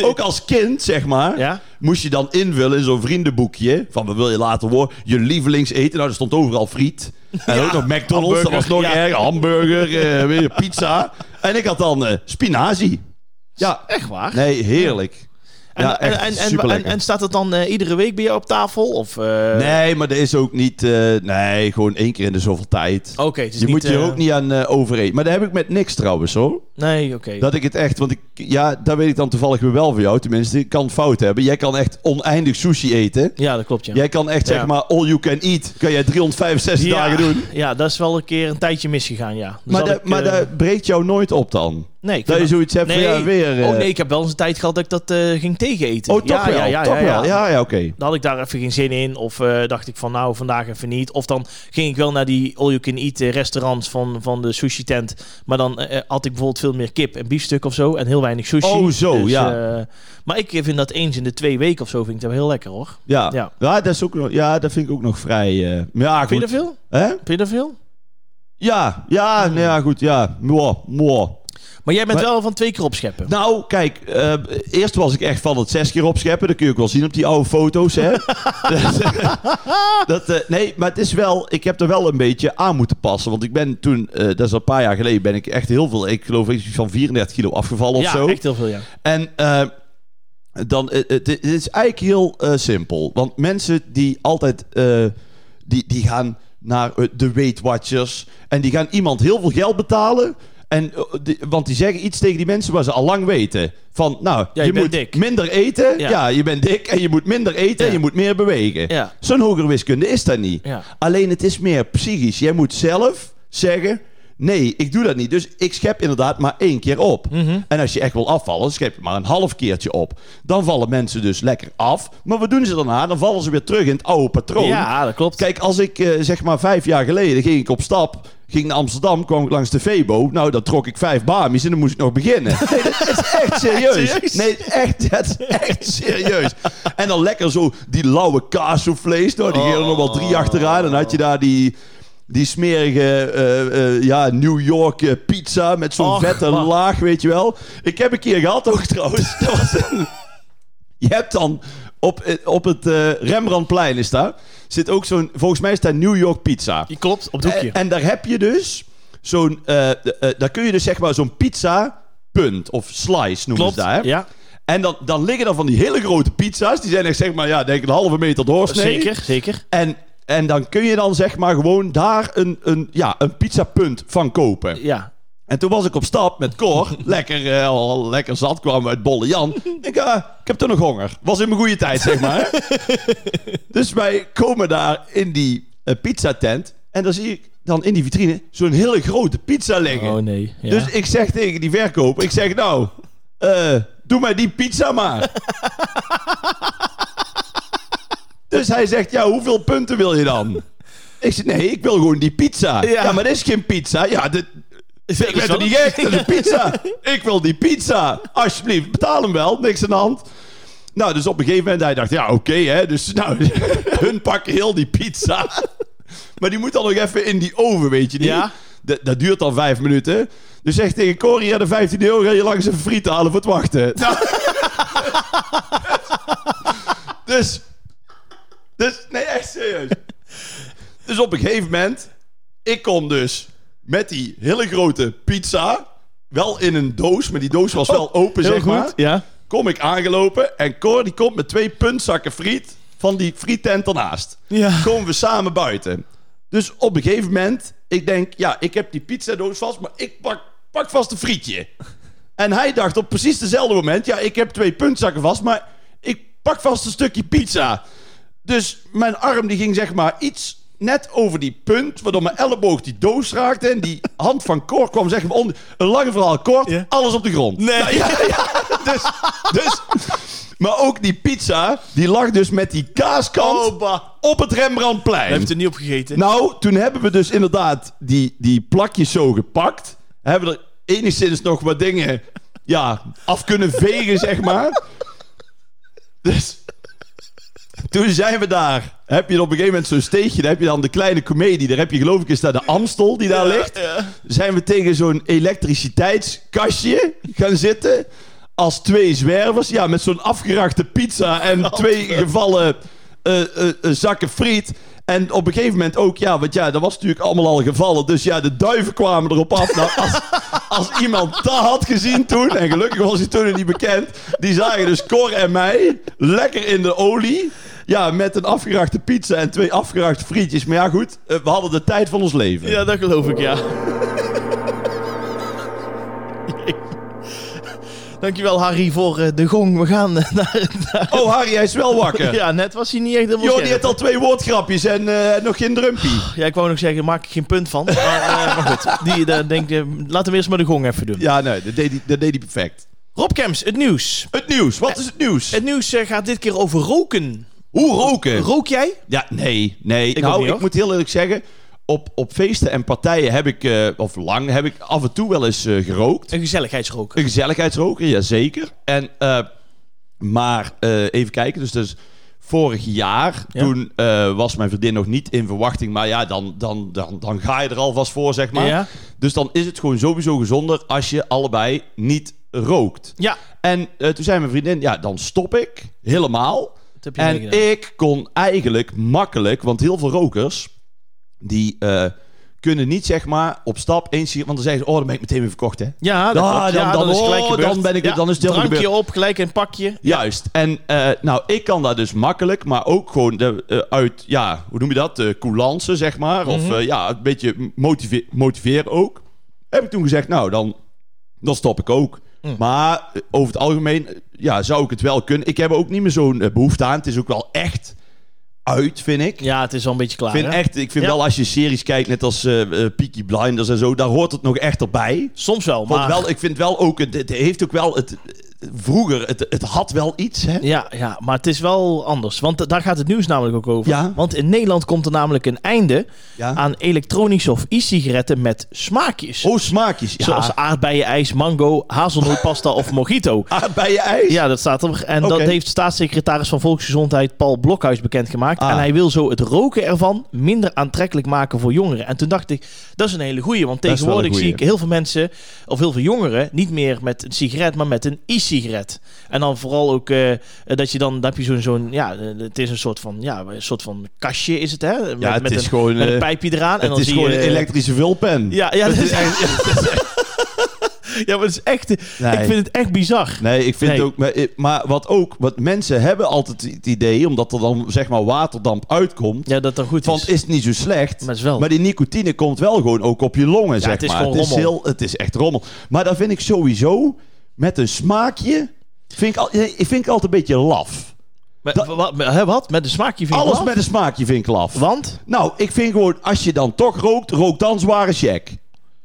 [SPEAKER 2] Ook als kind, zeg maar,
[SPEAKER 1] Ja.
[SPEAKER 2] moest je dan invullen in zo'n vriendenboekje. Van, wat wil je later worden? Je lievelingseten. Nou, er stond overal friet. En ook nog McDonald's, dat was
[SPEAKER 1] hamburger,
[SPEAKER 2] nog
[SPEAKER 1] ja.
[SPEAKER 2] erg. Hamburger, eh, weet je, pizza. En ik had dan eh, spinazie. Ja,
[SPEAKER 1] Echt waar?
[SPEAKER 2] nee, heerlijk.
[SPEAKER 1] En,
[SPEAKER 2] ja,
[SPEAKER 1] en,
[SPEAKER 2] echt
[SPEAKER 1] en, en, en,
[SPEAKER 2] superlekker.
[SPEAKER 1] en staat het dan eh, iedere week bij jou op tafel? Of, eh,
[SPEAKER 2] nee, maar dat is ook niet... eh, nee, gewoon één keer in de zoveel tijd.
[SPEAKER 1] Oké, het is
[SPEAKER 2] je
[SPEAKER 1] niet,
[SPEAKER 2] moet je
[SPEAKER 1] eh,
[SPEAKER 2] ook niet aan eh overeten. Maar dat heb ik met niks trouwens, hoor.
[SPEAKER 1] Nee, oké.
[SPEAKER 2] Dat ik het echt... Want ik, ja, daar weet ik dan toevallig weer wel van jou. Tenminste, ik kan fout hebben. Jij kan echt oneindig sushi eten.
[SPEAKER 1] Ja, dat klopt, ja.
[SPEAKER 2] Jij kan echt,
[SPEAKER 1] Ja.
[SPEAKER 2] zeg maar, all you can eat. Kan jij 365
[SPEAKER 1] ja,
[SPEAKER 2] dagen doen.
[SPEAKER 1] Ja, dat is wel een keer een tijdje misgegaan, ja. Dus
[SPEAKER 2] Maar,
[SPEAKER 1] had
[SPEAKER 2] dat,
[SPEAKER 1] ik,
[SPEAKER 2] maar
[SPEAKER 1] eh,
[SPEAKER 2] dat breekt jou nooit op dan.
[SPEAKER 1] nee, ik
[SPEAKER 2] Dat je
[SPEAKER 1] vind
[SPEAKER 2] zoiets hebt
[SPEAKER 1] Nee.
[SPEAKER 2] van ja, weer... eh,
[SPEAKER 1] Oh nee, ik heb wel eens een tijd gehad dat ik dat eh, ging tegeneten.
[SPEAKER 2] Oh, toch
[SPEAKER 1] ja,
[SPEAKER 2] wel.
[SPEAKER 1] Ja, ja,
[SPEAKER 2] toch
[SPEAKER 1] ja,
[SPEAKER 2] wel. Ja, ja, oké.
[SPEAKER 1] Dan had ik daar even geen zin in. Of eh, dacht ik van nou, vandaag even niet. Of dan ging ik wel naar die all-you-can-eat eh, restaurants van, van de sushi tent. Maar dan eh, had ik bijvoorbeeld veel meer kip en biefstuk of zo. En heel weinig sushi.
[SPEAKER 2] Oh, zo, ja.
[SPEAKER 1] eh, maar ik vind dat eens in de twee weken of zo vind ik dat wel heel lekker hoor.
[SPEAKER 2] Ja. Ja.
[SPEAKER 1] Ja.
[SPEAKER 2] dat is ook, nog- ja, dat vind ik ook nog vrij... eh, maar ja, goed.
[SPEAKER 1] Vind je dat veel? Hmm.
[SPEAKER 2] Hè?
[SPEAKER 1] Vind je dat veel?
[SPEAKER 2] Ja, ja, nou ja, goed, ja. Mwah, mwah.
[SPEAKER 1] Maar jij bent
[SPEAKER 2] Maar-
[SPEAKER 1] wel van twee keer opscheppen.
[SPEAKER 2] Nou, kijk, eh, eerst was ik echt van het zes keer opscheppen. Dat kun je ook wel zien op die oude foto's,
[SPEAKER 1] <laughs>
[SPEAKER 2] hè. eh, dat, eh, nee, maar het is wel... Ik heb er wel een beetje aan moeten passen. Want ik ben toen, eh, dat is al een paar jaar geleden, ben ik echt heel veel... Ik geloof iets van 34 kilo afgevallen
[SPEAKER 1] ja,
[SPEAKER 2] of zo.
[SPEAKER 1] echt heel veel, ja.
[SPEAKER 2] En eh, dan, eh, het, het is eigenlijk heel eh, simpel. Want mensen die altijd, eh, die, die gaan naar eh, de Weight Watchers. En die gaan iemand heel veel geld betalen. En, eh, die- want die zeggen iets tegen die mensen waar ze al lang weten. Van, nou,
[SPEAKER 1] je
[SPEAKER 2] je,
[SPEAKER 1] bent
[SPEAKER 2] moet
[SPEAKER 1] dik.
[SPEAKER 2] minder eten. Ja.
[SPEAKER 1] Ja.
[SPEAKER 2] je bent dik en je moet minder eten en
[SPEAKER 1] Ja.
[SPEAKER 2] je moet meer bewegen.
[SPEAKER 1] Ja.
[SPEAKER 2] Zo'n hogere wiskunde is dat niet.
[SPEAKER 1] Ja.
[SPEAKER 2] Alleen het is meer psychisch. Jij moet zelf zeggen: nee, ik doe dat niet. Dus ik schep inderdaad maar één keer op.
[SPEAKER 1] Mhm.
[SPEAKER 2] En als je echt wil afvallen, schep je maar een half keertje op. Dan vallen mensen dus lekker af. Maar wat doen ze daarna? Dan vallen ze weer terug in het oude patroon.
[SPEAKER 1] Ja, dat klopt.
[SPEAKER 2] Kijk, als ik eh, zeg maar vijf jaar geleden ging ik op stap, ging naar Amsterdam, kwam ik langs de Febo. Nou, dan trok ik vijf bamies en dan moest ik nog beginnen. <laughs> Nee, dat is echt serieus.
[SPEAKER 1] Serieus?
[SPEAKER 2] Nee, echt, dat is echt serieus. En dan lekker zo die lauwe kaassoufflés. Nou, die gingen er nog wel drie achteraan. Dan had je daar die... Die smerige eh, eh, ja, New York eh, pizza met zo'n
[SPEAKER 1] Och,
[SPEAKER 2] vette
[SPEAKER 1] man.
[SPEAKER 2] laag, weet je wel. Ik heb een keer gehad ook trouwens. <laughs> Dat was een- je hebt dan op, eh, op het eh, Rembrandtplein is daar zit ook zo'n volgens mij is daar New York pizza.
[SPEAKER 1] Je klopt, op het hoekje.
[SPEAKER 2] En, en daar heb je dus zo'n eh, eh, eh, daar kun je dus zeg maar zo'n pizza punt of slice noemen
[SPEAKER 1] klopt,
[SPEAKER 2] ze daar. hè?
[SPEAKER 1] ja.
[SPEAKER 2] En dan, dan liggen dan van die hele grote pizza's die zijn echt zeg maar ja denk een halve meter doorsnee.
[SPEAKER 1] eh, Zeker, zeker.
[SPEAKER 2] En en dan kun je dan zeg maar gewoon daar een, een, ja, een pizzapunt van kopen.
[SPEAKER 1] Ja.
[SPEAKER 2] En toen was ik op stap met Cor. lekker, eh, al lekker zat kwamen we uit Bolle Jan. Ik, eh, ik heb toch nog honger. Was in mijn goede tijd, zeg maar. dus wij komen daar in die eh, pizza pizzatent. En dan zie ik dan in die vitrine zo'n hele grote pizza liggen.
[SPEAKER 1] Oh nee. Ja.
[SPEAKER 2] Dus ik zeg tegen die verkoper, ik zeg nou, eh, doe mij die
[SPEAKER 1] <laughs>
[SPEAKER 2] pizza maar. dus hij zegt, ja, hoeveel punten wil je dan? Ik zeg, nee, ik wil gewoon die pizza. Ja,
[SPEAKER 1] Ja.
[SPEAKER 2] maar dat is geen pizza. Ja, dit, ik ben
[SPEAKER 1] is
[SPEAKER 2] toch
[SPEAKER 1] wel
[SPEAKER 2] niet
[SPEAKER 1] een-
[SPEAKER 2] gek? Dat is een
[SPEAKER 1] <laughs>
[SPEAKER 2] pizza. ik wil die pizza. Alsjeblieft, betaal hem wel. Niks aan de hand. Nou, dus op een gegeven moment, hij dacht, ja, oké, hè. Dus nou, <laughs> hun pakken heel die pizza. <laughs> maar die moet dan nog even in die oven, weet je niet?
[SPEAKER 1] Ja.
[SPEAKER 2] Dat, dat duurt al vijf minuten. Dus zeg tegen Corrie, ja, de 15 euro ga je langs even friet halen voor het wachten. Nou. <laughs> dus, dus, nee, echt serieus. Dus op een gegeven moment, ik kom dus met die hele grote pizza, wel in een doos, maar die doos was wel open,
[SPEAKER 1] Oh, Heel
[SPEAKER 2] zeg
[SPEAKER 1] goed.
[SPEAKER 2] maar
[SPEAKER 1] Ja.
[SPEAKER 2] kom ik aangelopen en Cor die komt met twee puntzakken friet van die frietent ernaast.
[SPEAKER 1] Ja.
[SPEAKER 2] Komen we samen buiten. Dus op een gegeven moment, ik denk, ja, ik heb die pizzadoos vast, maar ik pak, pak vast een frietje. En hij dacht op precies dezelfde moment, ja, ik heb twee puntzakken vast, maar ik pak vast een stukje pizza. Dus mijn arm die ging zeg maar iets net over die punt, waardoor mijn elleboog die doos raakte en die hand van Cor kwam zeggen, om, een lange verhaal kort,
[SPEAKER 1] Ja.
[SPEAKER 2] alles op de grond.
[SPEAKER 1] Nee.
[SPEAKER 2] Ja, ja, dus, dus, maar ook die pizza, die lag dus met die kaaskant
[SPEAKER 1] Oh, bah.
[SPEAKER 2] op het Rembrandtplein.
[SPEAKER 1] Heb je er niet op gegeten?
[SPEAKER 2] Nou, toen hebben we dus inderdaad die, die plakjes zo gepakt. Hebben er enigszins nog wat dingen ja, af kunnen vegen, zeg maar. Dus toen zijn we daar. Heb je op een gegeven moment zo'n steegje. Daar heb je dan de kleine komedie. Daar heb je geloof ik is daar de Amstel die
[SPEAKER 1] Nou,
[SPEAKER 2] daar ligt. Zijn we tegen zo'n elektriciteitskastje gaan zitten. Als twee zwervers. Ja, met zo'n afgerachte pizza en twee gevallen eh, eh, eh, zakken friet. En op een gegeven moment ook, ja, want ja, dat was natuurlijk allemaal al gevallen. Dus ja, de duiven kwamen erop af. Nou, als, als iemand dat had gezien toen, en gelukkig was hij toen nog niet bekend, die zagen dus Cor en mij lekker in de olie. Ja, met een afgerachte pizza en twee afgerachte frietjes. Maar ja, goed, eh, we hadden de tijd van ons leven.
[SPEAKER 1] Ja, dat geloof ik, ja. Dankjewel, Harry, voor eh, de gong. We gaan eh, naar... naar-
[SPEAKER 2] Oh, Harry, hij is wel
[SPEAKER 1] <laughs>
[SPEAKER 2] wakker.
[SPEAKER 1] Ja, net was hij niet echt helemaal
[SPEAKER 2] Joh, die
[SPEAKER 1] scherp.
[SPEAKER 2] heeft al twee woordgrapjes en eh, nog geen drumpie.
[SPEAKER 1] Ja, ik wou nog zeggen, daar maak ik geen punt van. Maar, <laughs> eh, maar goed, die, daar denk, ik, eh, laten we eerst maar de gong even doen.
[SPEAKER 2] Ja, nee, dat deed hij, dat deed hij perfect.
[SPEAKER 1] Rob Kemps, het nieuws.
[SPEAKER 2] Het nieuws, wat is het nieuws?
[SPEAKER 1] Het nieuws eh, gaat dit keer over roken.
[SPEAKER 2] Hoe roken?
[SPEAKER 1] Rook jij?
[SPEAKER 2] Ja, nee, nee.
[SPEAKER 1] Ik ook
[SPEAKER 2] nou,
[SPEAKER 1] niet, hoor.
[SPEAKER 2] ik moet heel eerlijk zeggen, op, op feesten en partijen heb ik, eh, of lang, heb ik af en toe wel eens eh, gerookt.
[SPEAKER 1] Een gezelligheidsroken.
[SPEAKER 2] Een gezelligheidsroker, jazeker. En, eh, maar eh, even kijken, dus, dus vorig jaar,
[SPEAKER 1] Ja.
[SPEAKER 2] toen eh, was mijn vriendin nog niet in verwachting. Maar ja, dan, dan, dan, dan ga je er alvast voor, zeg maar.
[SPEAKER 1] Ja.
[SPEAKER 2] Dus dan is het gewoon sowieso gezonder als je allebei niet rookt.
[SPEAKER 1] Ja,
[SPEAKER 2] En eh, toen zei mijn vriendin, ja, dan stop ik helemaal.
[SPEAKER 1] dat heb je
[SPEAKER 2] En
[SPEAKER 1] meegedaan.
[SPEAKER 2] ik kon eigenlijk makkelijk, want heel veel rokers die eh, kunnen niet zeg maar op stap eens hier, want dan zeggen ze, oh, dan ben ik meteen weer verkocht, hè?
[SPEAKER 1] Ja, dat
[SPEAKER 2] Ah,
[SPEAKER 1] klopt.
[SPEAKER 2] dan-
[SPEAKER 1] ja,
[SPEAKER 2] dan-
[SPEAKER 1] dat is gelijk
[SPEAKER 2] oh,
[SPEAKER 1] gebeurd.
[SPEAKER 2] dan ben ik-
[SPEAKER 1] Ja,
[SPEAKER 2] dan is het helemaal
[SPEAKER 1] drankje op, gelijk een pakje.
[SPEAKER 2] Juist. En eh, nou, ik kan daar dus makkelijk, maar ook gewoon de, eh, uit, ja, hoe noem je dat? De coulance, zeg maar.
[SPEAKER 1] Mhm.
[SPEAKER 2] Of eh, ja, een beetje motive- motiveren ook. Heb ik toen gezegd, nou, dan, dan stop ik ook.
[SPEAKER 1] Mm.
[SPEAKER 2] Maar eh, over het algemeen, eh, ja, zou ik het wel kunnen. Ik heb er ook niet meer zo'n eh, behoefte aan. Het is ook wel echt uit, vind ik.
[SPEAKER 1] Ja, het is al een beetje klaar.
[SPEAKER 2] Ik vind,
[SPEAKER 1] hè?
[SPEAKER 2] echt, ik vind
[SPEAKER 1] Ja.
[SPEAKER 2] wel als je series kijkt, net als eh eh, Peaky Blinders en zo, daar hoort het nog echt erbij.
[SPEAKER 1] Soms wel,
[SPEAKER 2] Want
[SPEAKER 1] maar...
[SPEAKER 2] wel, ik vind wel ook, het, het heeft ook wel, het, eh, vroeger, het, het had wel iets, hè?
[SPEAKER 1] Ja, ja, maar het is wel anders. Want da- daar gaat het nieuws namelijk ook over.
[SPEAKER 2] Ja.
[SPEAKER 1] Want in Nederland komt er namelijk een einde
[SPEAKER 2] Ja.
[SPEAKER 1] aan elektronische of e-sigaretten met smaakjes.
[SPEAKER 2] Oh, smaakjes. Ja.
[SPEAKER 1] Zoals aardbeienijs, mango, hazelnootpasta of
[SPEAKER 2] <laughs>
[SPEAKER 1] mojito.
[SPEAKER 2] aardbeienijs.
[SPEAKER 1] Ja, dat staat er. En
[SPEAKER 2] Oké.
[SPEAKER 1] dat heeft staatssecretaris van Volksgezondheid Paul Blokhuis bekendgemaakt.
[SPEAKER 2] Ah.
[SPEAKER 1] En hij wil zo het roken ervan minder aantrekkelijk maken voor jongeren. En toen dacht ik, dat is een hele goeie. Want
[SPEAKER 2] Dat is wel een
[SPEAKER 1] tegenwoordig zie ik
[SPEAKER 2] goeie.
[SPEAKER 1] heel veel mensen, of heel veel jongeren, niet meer met een sigaret, maar met een e-sigaret. En dan vooral ook eh, dat je dan, dan heb je zo'n, zo'n ja, eh, het is een soort van, ja, een soort van kastje is het, hè? Met,
[SPEAKER 2] Ja, het
[SPEAKER 1] met
[SPEAKER 2] is
[SPEAKER 1] een,
[SPEAKER 2] gewoon,
[SPEAKER 1] met een
[SPEAKER 2] eh,
[SPEAKER 1] pijpje eraan. en
[SPEAKER 2] het
[SPEAKER 1] dan
[SPEAKER 2] is
[SPEAKER 1] zie
[SPEAKER 2] gewoon
[SPEAKER 1] je,
[SPEAKER 2] een elektrische vulpen.
[SPEAKER 1] Ja, ja, dat
[SPEAKER 2] <laughs> Het
[SPEAKER 1] is,
[SPEAKER 2] is echt-
[SPEAKER 1] ja, maar het is echt,
[SPEAKER 2] Nee.
[SPEAKER 1] ik vind het echt bizar.
[SPEAKER 2] Nee, ik vind
[SPEAKER 1] Nee.
[SPEAKER 2] ook... Maar, maar wat ook... Wat mensen hebben altijd het idee... Omdat er dan zeg maar waterdamp uitkomt...
[SPEAKER 1] Ja, dat dan goed
[SPEAKER 2] Van
[SPEAKER 1] is.
[SPEAKER 2] is niet zo slecht.
[SPEAKER 1] Maar het is wel-
[SPEAKER 2] die nicotine komt wel gewoon ook op je longen, zeg
[SPEAKER 1] het is
[SPEAKER 2] maar.
[SPEAKER 1] gewoon
[SPEAKER 2] het, is
[SPEAKER 1] rommel.
[SPEAKER 2] heel, het is echt rommel. Maar dat vind ik sowieso... Met een smaakje... Vind ik, al, eh, vind ik altijd een beetje laf.
[SPEAKER 1] Maar
[SPEAKER 2] Dat-
[SPEAKER 1] wa- wa- maar, hè, wat? Met een smaakje vind ik
[SPEAKER 2] Alles
[SPEAKER 1] wel?
[SPEAKER 2] met een smaakje vind ik laf.
[SPEAKER 1] Want?
[SPEAKER 2] Nou, ik vind gewoon, als je dan toch rookt, rook dan zware check.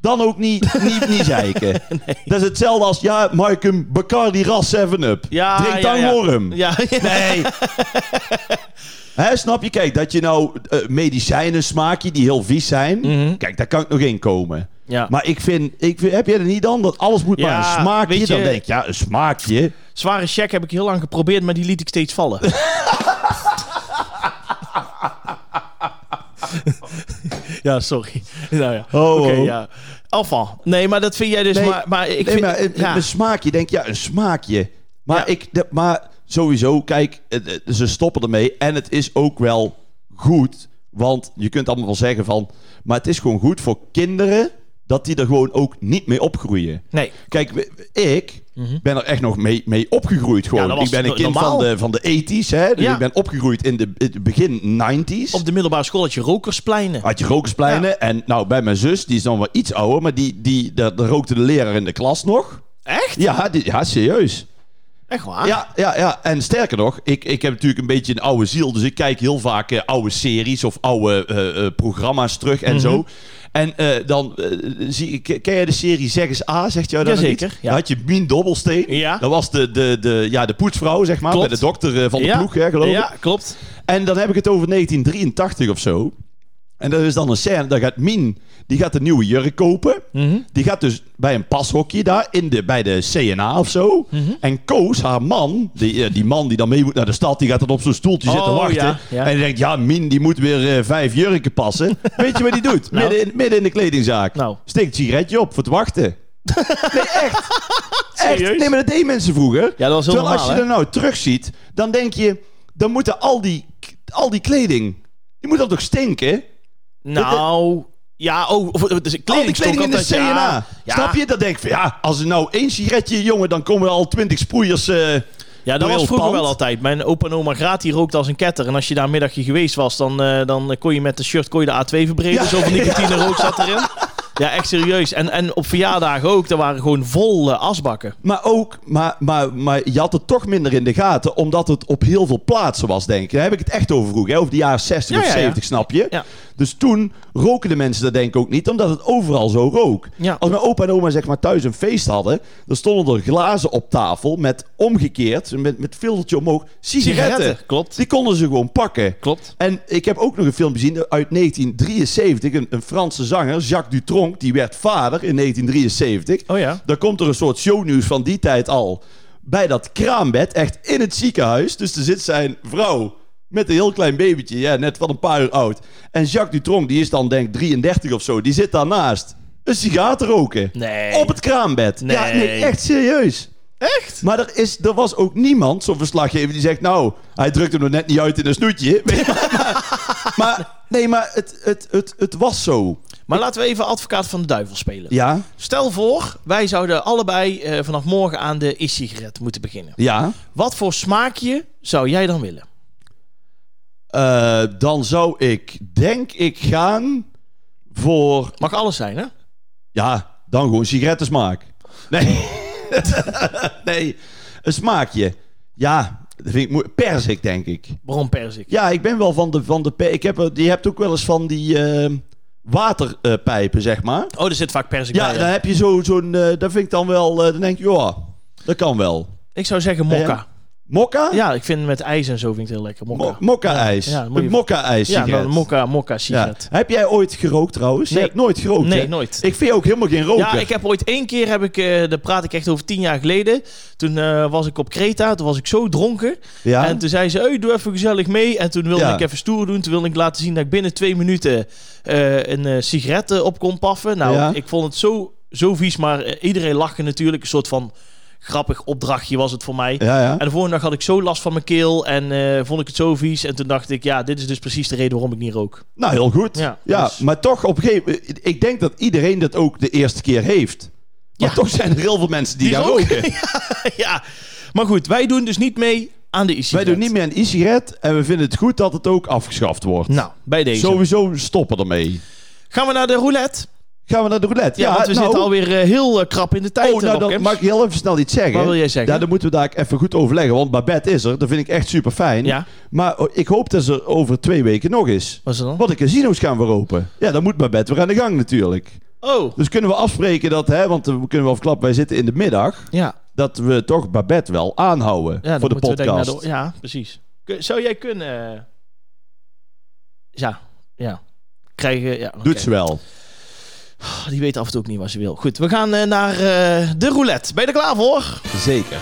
[SPEAKER 2] Dan ook
[SPEAKER 1] <laughs>
[SPEAKER 2] niet, niet, niet zeiken. Dat is hetzelfde als, ja, Markum, Bacardi Ras 7-Up. Drink dan worm. <laughs>
[SPEAKER 1] Ja, <laughs>
[SPEAKER 2] Nee. Hè, snap je? Kijk, dat je nou eh, medicijnen smaak je die heel vies zijn. Kijk, daar kan ik nog in komen.
[SPEAKER 1] Mhm. Ja.
[SPEAKER 2] Maar ik vind, ik vind, heb jij er niet dan dat alles moet maar
[SPEAKER 1] Ja,
[SPEAKER 2] een smaakje?
[SPEAKER 1] weet je-
[SPEAKER 2] Dan denk ik, ja, een smaakje.
[SPEAKER 1] Zware check heb ik heel lang geprobeerd, maar die liet ik steeds
[SPEAKER 2] <laughs>
[SPEAKER 1] vallen. ja, sorry. Nou ja.
[SPEAKER 2] Oh,
[SPEAKER 1] Oké,
[SPEAKER 2] oh.
[SPEAKER 1] ja. Enfin. Nee, maar dat vind jij dus...
[SPEAKER 2] Nee,
[SPEAKER 1] maar, maar ik
[SPEAKER 2] nee,
[SPEAKER 1] vind...
[SPEAKER 2] maar een,
[SPEAKER 1] ja.
[SPEAKER 2] een smaakje. Denk ja, een smaakje. Maar,
[SPEAKER 1] Ja.
[SPEAKER 2] ik, dat- maar sowieso, kijk, het- het- ze stoppen ermee. En het is ook wel goed. Want je kunt allemaal wel zeggen van... Maar het is gewoon goed voor kinderen... dat die er gewoon ook niet mee opgroeien.
[SPEAKER 1] Nee.
[SPEAKER 2] Kijk, we- ik ben er echt nog mee, mee opgegroeid gewoon.
[SPEAKER 1] Mhm. Ja, dat was
[SPEAKER 2] ik ben een
[SPEAKER 1] no-
[SPEAKER 2] kind
[SPEAKER 1] normaal.
[SPEAKER 2] van de, van de 80s. Hè? Dus
[SPEAKER 1] Ja.
[SPEAKER 2] ik ben opgegroeid in de, in de begin 90s.
[SPEAKER 1] Op de middelbare school had je rokerspleinen.
[SPEAKER 2] Had je rokerspleinen. En nou, bij mijn zus, die is dan wel iets ouder... maar die, die, daar daar rookte de leraar in de klas nog...
[SPEAKER 1] Echt?
[SPEAKER 2] Ja, die- ja serieus.
[SPEAKER 1] Echt waar?
[SPEAKER 2] Ja, ja, ja. En sterker nog, ik, ik heb natuurlijk een beetje een oude ziel. Dus ik kijk heel vaak eh, oude series of oude eh, eh, programma's terug
[SPEAKER 1] Mhm.
[SPEAKER 2] en zo. En eh, dan eh, zie ik, ken jij de serie Zeg eens A, zegt jou dat nog
[SPEAKER 1] Jazeker,
[SPEAKER 2] iets?
[SPEAKER 1] ja.
[SPEAKER 2] Dan had je Mien Dobbelsteen.
[SPEAKER 1] Ja.
[SPEAKER 2] Dat was de, de, de, ja, de poetsvrouw, zeg maar.
[SPEAKER 1] Klopt.
[SPEAKER 2] Bij de dokter eh, van de
[SPEAKER 1] Ja.
[SPEAKER 2] ploeg, hè, geloof ik.
[SPEAKER 1] Ja, klopt.
[SPEAKER 2] En dan heb ik het over 1983 of zo. En dat is dan een scène, daar gaat Mien, die gaat een nieuwe jurk kopen.
[SPEAKER 1] Mhm.
[SPEAKER 2] Die gaat dus bij een pashokje daar, in de, bij de CNA of zo.
[SPEAKER 1] Mhm.
[SPEAKER 2] En Koos, haar man, die, eh, die man die dan mee moet naar de stad, die gaat dan op zo'n stoeltje
[SPEAKER 1] Oh,
[SPEAKER 2] zitten wachten.
[SPEAKER 1] ja, ja.
[SPEAKER 2] En die denkt, ja, Mien, die moet weer eh, vijf jurken
[SPEAKER 1] <laughs>
[SPEAKER 2] passen. Weet je wat die doet?
[SPEAKER 1] Nou.
[SPEAKER 2] Midden, in, midden in de kledingzaak.
[SPEAKER 1] Nou.
[SPEAKER 2] Steekt een sigaretje op voor het
[SPEAKER 1] <laughs>
[SPEAKER 2] wachten. Nee, echt. echt.
[SPEAKER 1] Serieus?
[SPEAKER 2] Nee, maar dat deden mensen vroeger.
[SPEAKER 1] Ja, dat was heel
[SPEAKER 2] Terwijl als
[SPEAKER 1] normaal,
[SPEAKER 2] je
[SPEAKER 1] hè?
[SPEAKER 2] er nou terugziet, dan denk je... Dan moeten al die, al die kleding... Die moet dan toch stinken?
[SPEAKER 1] Nou, ja, oh, of, of- dus
[SPEAKER 2] Al die
[SPEAKER 1] kleding
[SPEAKER 2] kleding in de
[SPEAKER 1] stond
[SPEAKER 2] CNA.
[SPEAKER 1] altijd- Ja, ja.
[SPEAKER 2] Snap je? Dan denk ik van ja, als er nou één sigaretje, jongen... dan komen er al twintig sproeiers... eh,
[SPEAKER 1] Ja, dat
[SPEAKER 2] Door
[SPEAKER 1] was
[SPEAKER 2] heel
[SPEAKER 1] vroeger
[SPEAKER 2] het pand.
[SPEAKER 1] wel altijd. Mijn opa en oma Graat die rookte als een ketter. En als je daar een middagje geweest was, dan, eh, dan kon je met de shirt kon je de A2 verbreden.
[SPEAKER 2] <laughs> Ja.
[SPEAKER 1] Zo van nicotine rook zat erin. Ja, echt serieus. En, en op verjaardagen ook. Er waren gewoon vol eh, asbakken.
[SPEAKER 2] Maar ook, maar, maar, maar je had het toch minder in de gaten, omdat het op heel veel plaatsen was, denk ik. Daar heb ik het echt over vroeg, hè? over de jaren 60
[SPEAKER 1] Ja,
[SPEAKER 2] of
[SPEAKER 1] ja, ja.
[SPEAKER 2] 70, snap je?
[SPEAKER 1] Ja.
[SPEAKER 2] Dus toen roken de mensen dat denk ik ook niet, omdat het overal zo rook.
[SPEAKER 1] Ja.
[SPEAKER 2] Als mijn opa en oma zeg maar thuis een feest hadden, dan stonden er glazen op tafel met omgekeerd, met, met filtertje omhoog, sigaretten.
[SPEAKER 1] Sigaretten, klopt.
[SPEAKER 2] Die konden ze gewoon pakken.
[SPEAKER 1] Klopt.
[SPEAKER 2] En ik heb ook nog een film gezien uit 1973. Een, een Franse zanger, Jacques Dutronc, die werd vader in 1973.
[SPEAKER 1] Oh ja.
[SPEAKER 2] Dan komt er een soort shownieuws van die tijd al. Bij dat kraambed, echt in het ziekenhuis. Dus er zit zijn vrouw met een heel klein babytje, ja, net van een paar uur oud. En Jacques Dutronc, die is dan denk ik 33 of zo, die zit daarnaast een sigaar te roken.
[SPEAKER 1] Nee.
[SPEAKER 2] Op het kraambed. Ja,
[SPEAKER 1] Nee.
[SPEAKER 2] nee, echt serieus.
[SPEAKER 1] Echt?
[SPEAKER 2] Maar er, is, er was ook niemand, zo'n verslaggever, die zegt... Nou, hij drukt hem nog net niet uit in een snoetje. <laughs> maar, maar- nee, maar het, het, het, het was zo.
[SPEAKER 1] Maar laten we even advocaat van de duivel spelen.
[SPEAKER 2] Ja,
[SPEAKER 1] Stel voor, wij zouden allebei eh, vanaf morgen aan de e-sigaret moeten beginnen.
[SPEAKER 2] ja.
[SPEAKER 1] Wat voor smaakje zou jij dan willen?
[SPEAKER 2] Eh, dan zou ik, denk ik, gaan voor...
[SPEAKER 1] Mag alles zijn, hè?
[SPEAKER 2] Ja, dan gewoon sigarettensmaak. Nee. <laughs> nee, een smaakje. Ja, dat vind ik moe- Perzik, denk ik.
[SPEAKER 1] Bron perzik.
[SPEAKER 2] Ja, ik ben wel van de... Van de per- ik heb, er- je hebt ook wel eens van die eh, waterpijpen, zeg maar.
[SPEAKER 1] Oh, er zit vaak perzik
[SPEAKER 2] Ja,
[SPEAKER 1] bij.
[SPEAKER 2] dan
[SPEAKER 1] hè?
[SPEAKER 2] heb je zo- zo'n... eh dat vind ik dan wel... eh, dan denk je, ja, dat kan wel.
[SPEAKER 1] Ik zou zeggen mokka.
[SPEAKER 2] Mokka?
[SPEAKER 1] Ja, ik vind met ijs en zo vind ik het heel lekker. Mokka.
[SPEAKER 2] Mo- Mokka-ijs.
[SPEAKER 1] Ja, ja, moet je-
[SPEAKER 2] een mokka-ijs
[SPEAKER 1] ja, dan
[SPEAKER 2] sigaret.
[SPEAKER 1] een mokka, mokka
[SPEAKER 2] Ja.
[SPEAKER 1] sigaret.
[SPEAKER 2] Heb jij ooit gerookt trouwens?
[SPEAKER 1] Nee.
[SPEAKER 2] Je hebt nooit gerookt,
[SPEAKER 1] Nee,
[SPEAKER 2] hè?
[SPEAKER 1] nooit.
[SPEAKER 2] Ik vind je ook helemaal geen
[SPEAKER 1] Ja,
[SPEAKER 2] roker.
[SPEAKER 1] ik heb ooit één keer, heb ik, eh daar praat ik echt over tien jaar geleden. Toen eh, was ik op Kreta, toen was ik zo dronken.
[SPEAKER 2] Ja?
[SPEAKER 1] En toen zei ze, hey, doe even gezellig mee. En toen wilde
[SPEAKER 2] Ja.
[SPEAKER 1] ik even stoer doen. Toen wilde ik laten zien dat ik binnen twee minuten eh, een eh, sigaret eh, op kon paffen. Nou,
[SPEAKER 2] Ja.
[SPEAKER 1] ik vond het zo, zo vies, maar eh, iedereen lachte natuurlijk. Een soort van grappig opdrachtje was het voor mij.
[SPEAKER 2] ja, ja.
[SPEAKER 1] En de volgende dag had ik zo last van mijn keel en eh, vond ik het zo vies. En toen dacht ik, ja, dit is dus precies de reden waarom ik niet rook.
[SPEAKER 2] Nou, heel goed.
[SPEAKER 1] Ja,
[SPEAKER 2] Ja,
[SPEAKER 1] dus-
[SPEAKER 2] maar toch op een gegeven moment... Ik denk dat iedereen dat ook de eerste keer heeft. Maar
[SPEAKER 1] Ja.
[SPEAKER 2] toch zijn er heel veel mensen die, gaan roken.
[SPEAKER 1] <laughs> ja, maar goed, wij doen dus niet mee aan de e
[SPEAKER 2] Wij doen niet meer een e-sigaret en we vinden het goed dat het ook afgeschaft wordt.
[SPEAKER 1] Nou, bij deze.
[SPEAKER 2] Sowieso stoppen ermee.
[SPEAKER 1] Gaan we naar de roulette?
[SPEAKER 2] Gaan we naar de roulette?
[SPEAKER 1] Ja, want we
[SPEAKER 2] nou,
[SPEAKER 1] zitten alweer eh, heel eh, krap in de tijd.
[SPEAKER 2] Oh,
[SPEAKER 1] eh,
[SPEAKER 2] nou, dan
[SPEAKER 1] Robkins.
[SPEAKER 2] mag ik heel even snel iets zeggen.
[SPEAKER 1] Wat wil jij zeggen?
[SPEAKER 2] Ja, dan moeten we daar even goed overleggen. Want Babette is er. Dat vind ik echt super fijn.
[SPEAKER 1] Ja.
[SPEAKER 2] Maar oh, ik hoop dat ze er over twee weken nog is.
[SPEAKER 1] Wat is er dan?
[SPEAKER 2] Want de casino's gaan weer open. Ja, dan moet Babette weer aan de gang natuurlijk.
[SPEAKER 1] Oh,
[SPEAKER 2] Dus kunnen we afspreken dat, hè, want eh, we kunnen wel verklappen, wij zitten in de middag.
[SPEAKER 1] ja.
[SPEAKER 2] Dat we toch Babette wel aanhouden
[SPEAKER 1] ja dan
[SPEAKER 2] voor de
[SPEAKER 1] moeten we denk ik naar
[SPEAKER 2] podcast.
[SPEAKER 1] de- ja, precies. Kun- Zou jij kunnen... eh, Ja, ja. Krijgen, ja. oké.
[SPEAKER 2] Doet ze wel.
[SPEAKER 1] Ah, Die weet af en toe ook niet wat ze wil. Goed, we gaan eh, naar eh, de roulette. Ben je er klaar voor?
[SPEAKER 2] Zeker.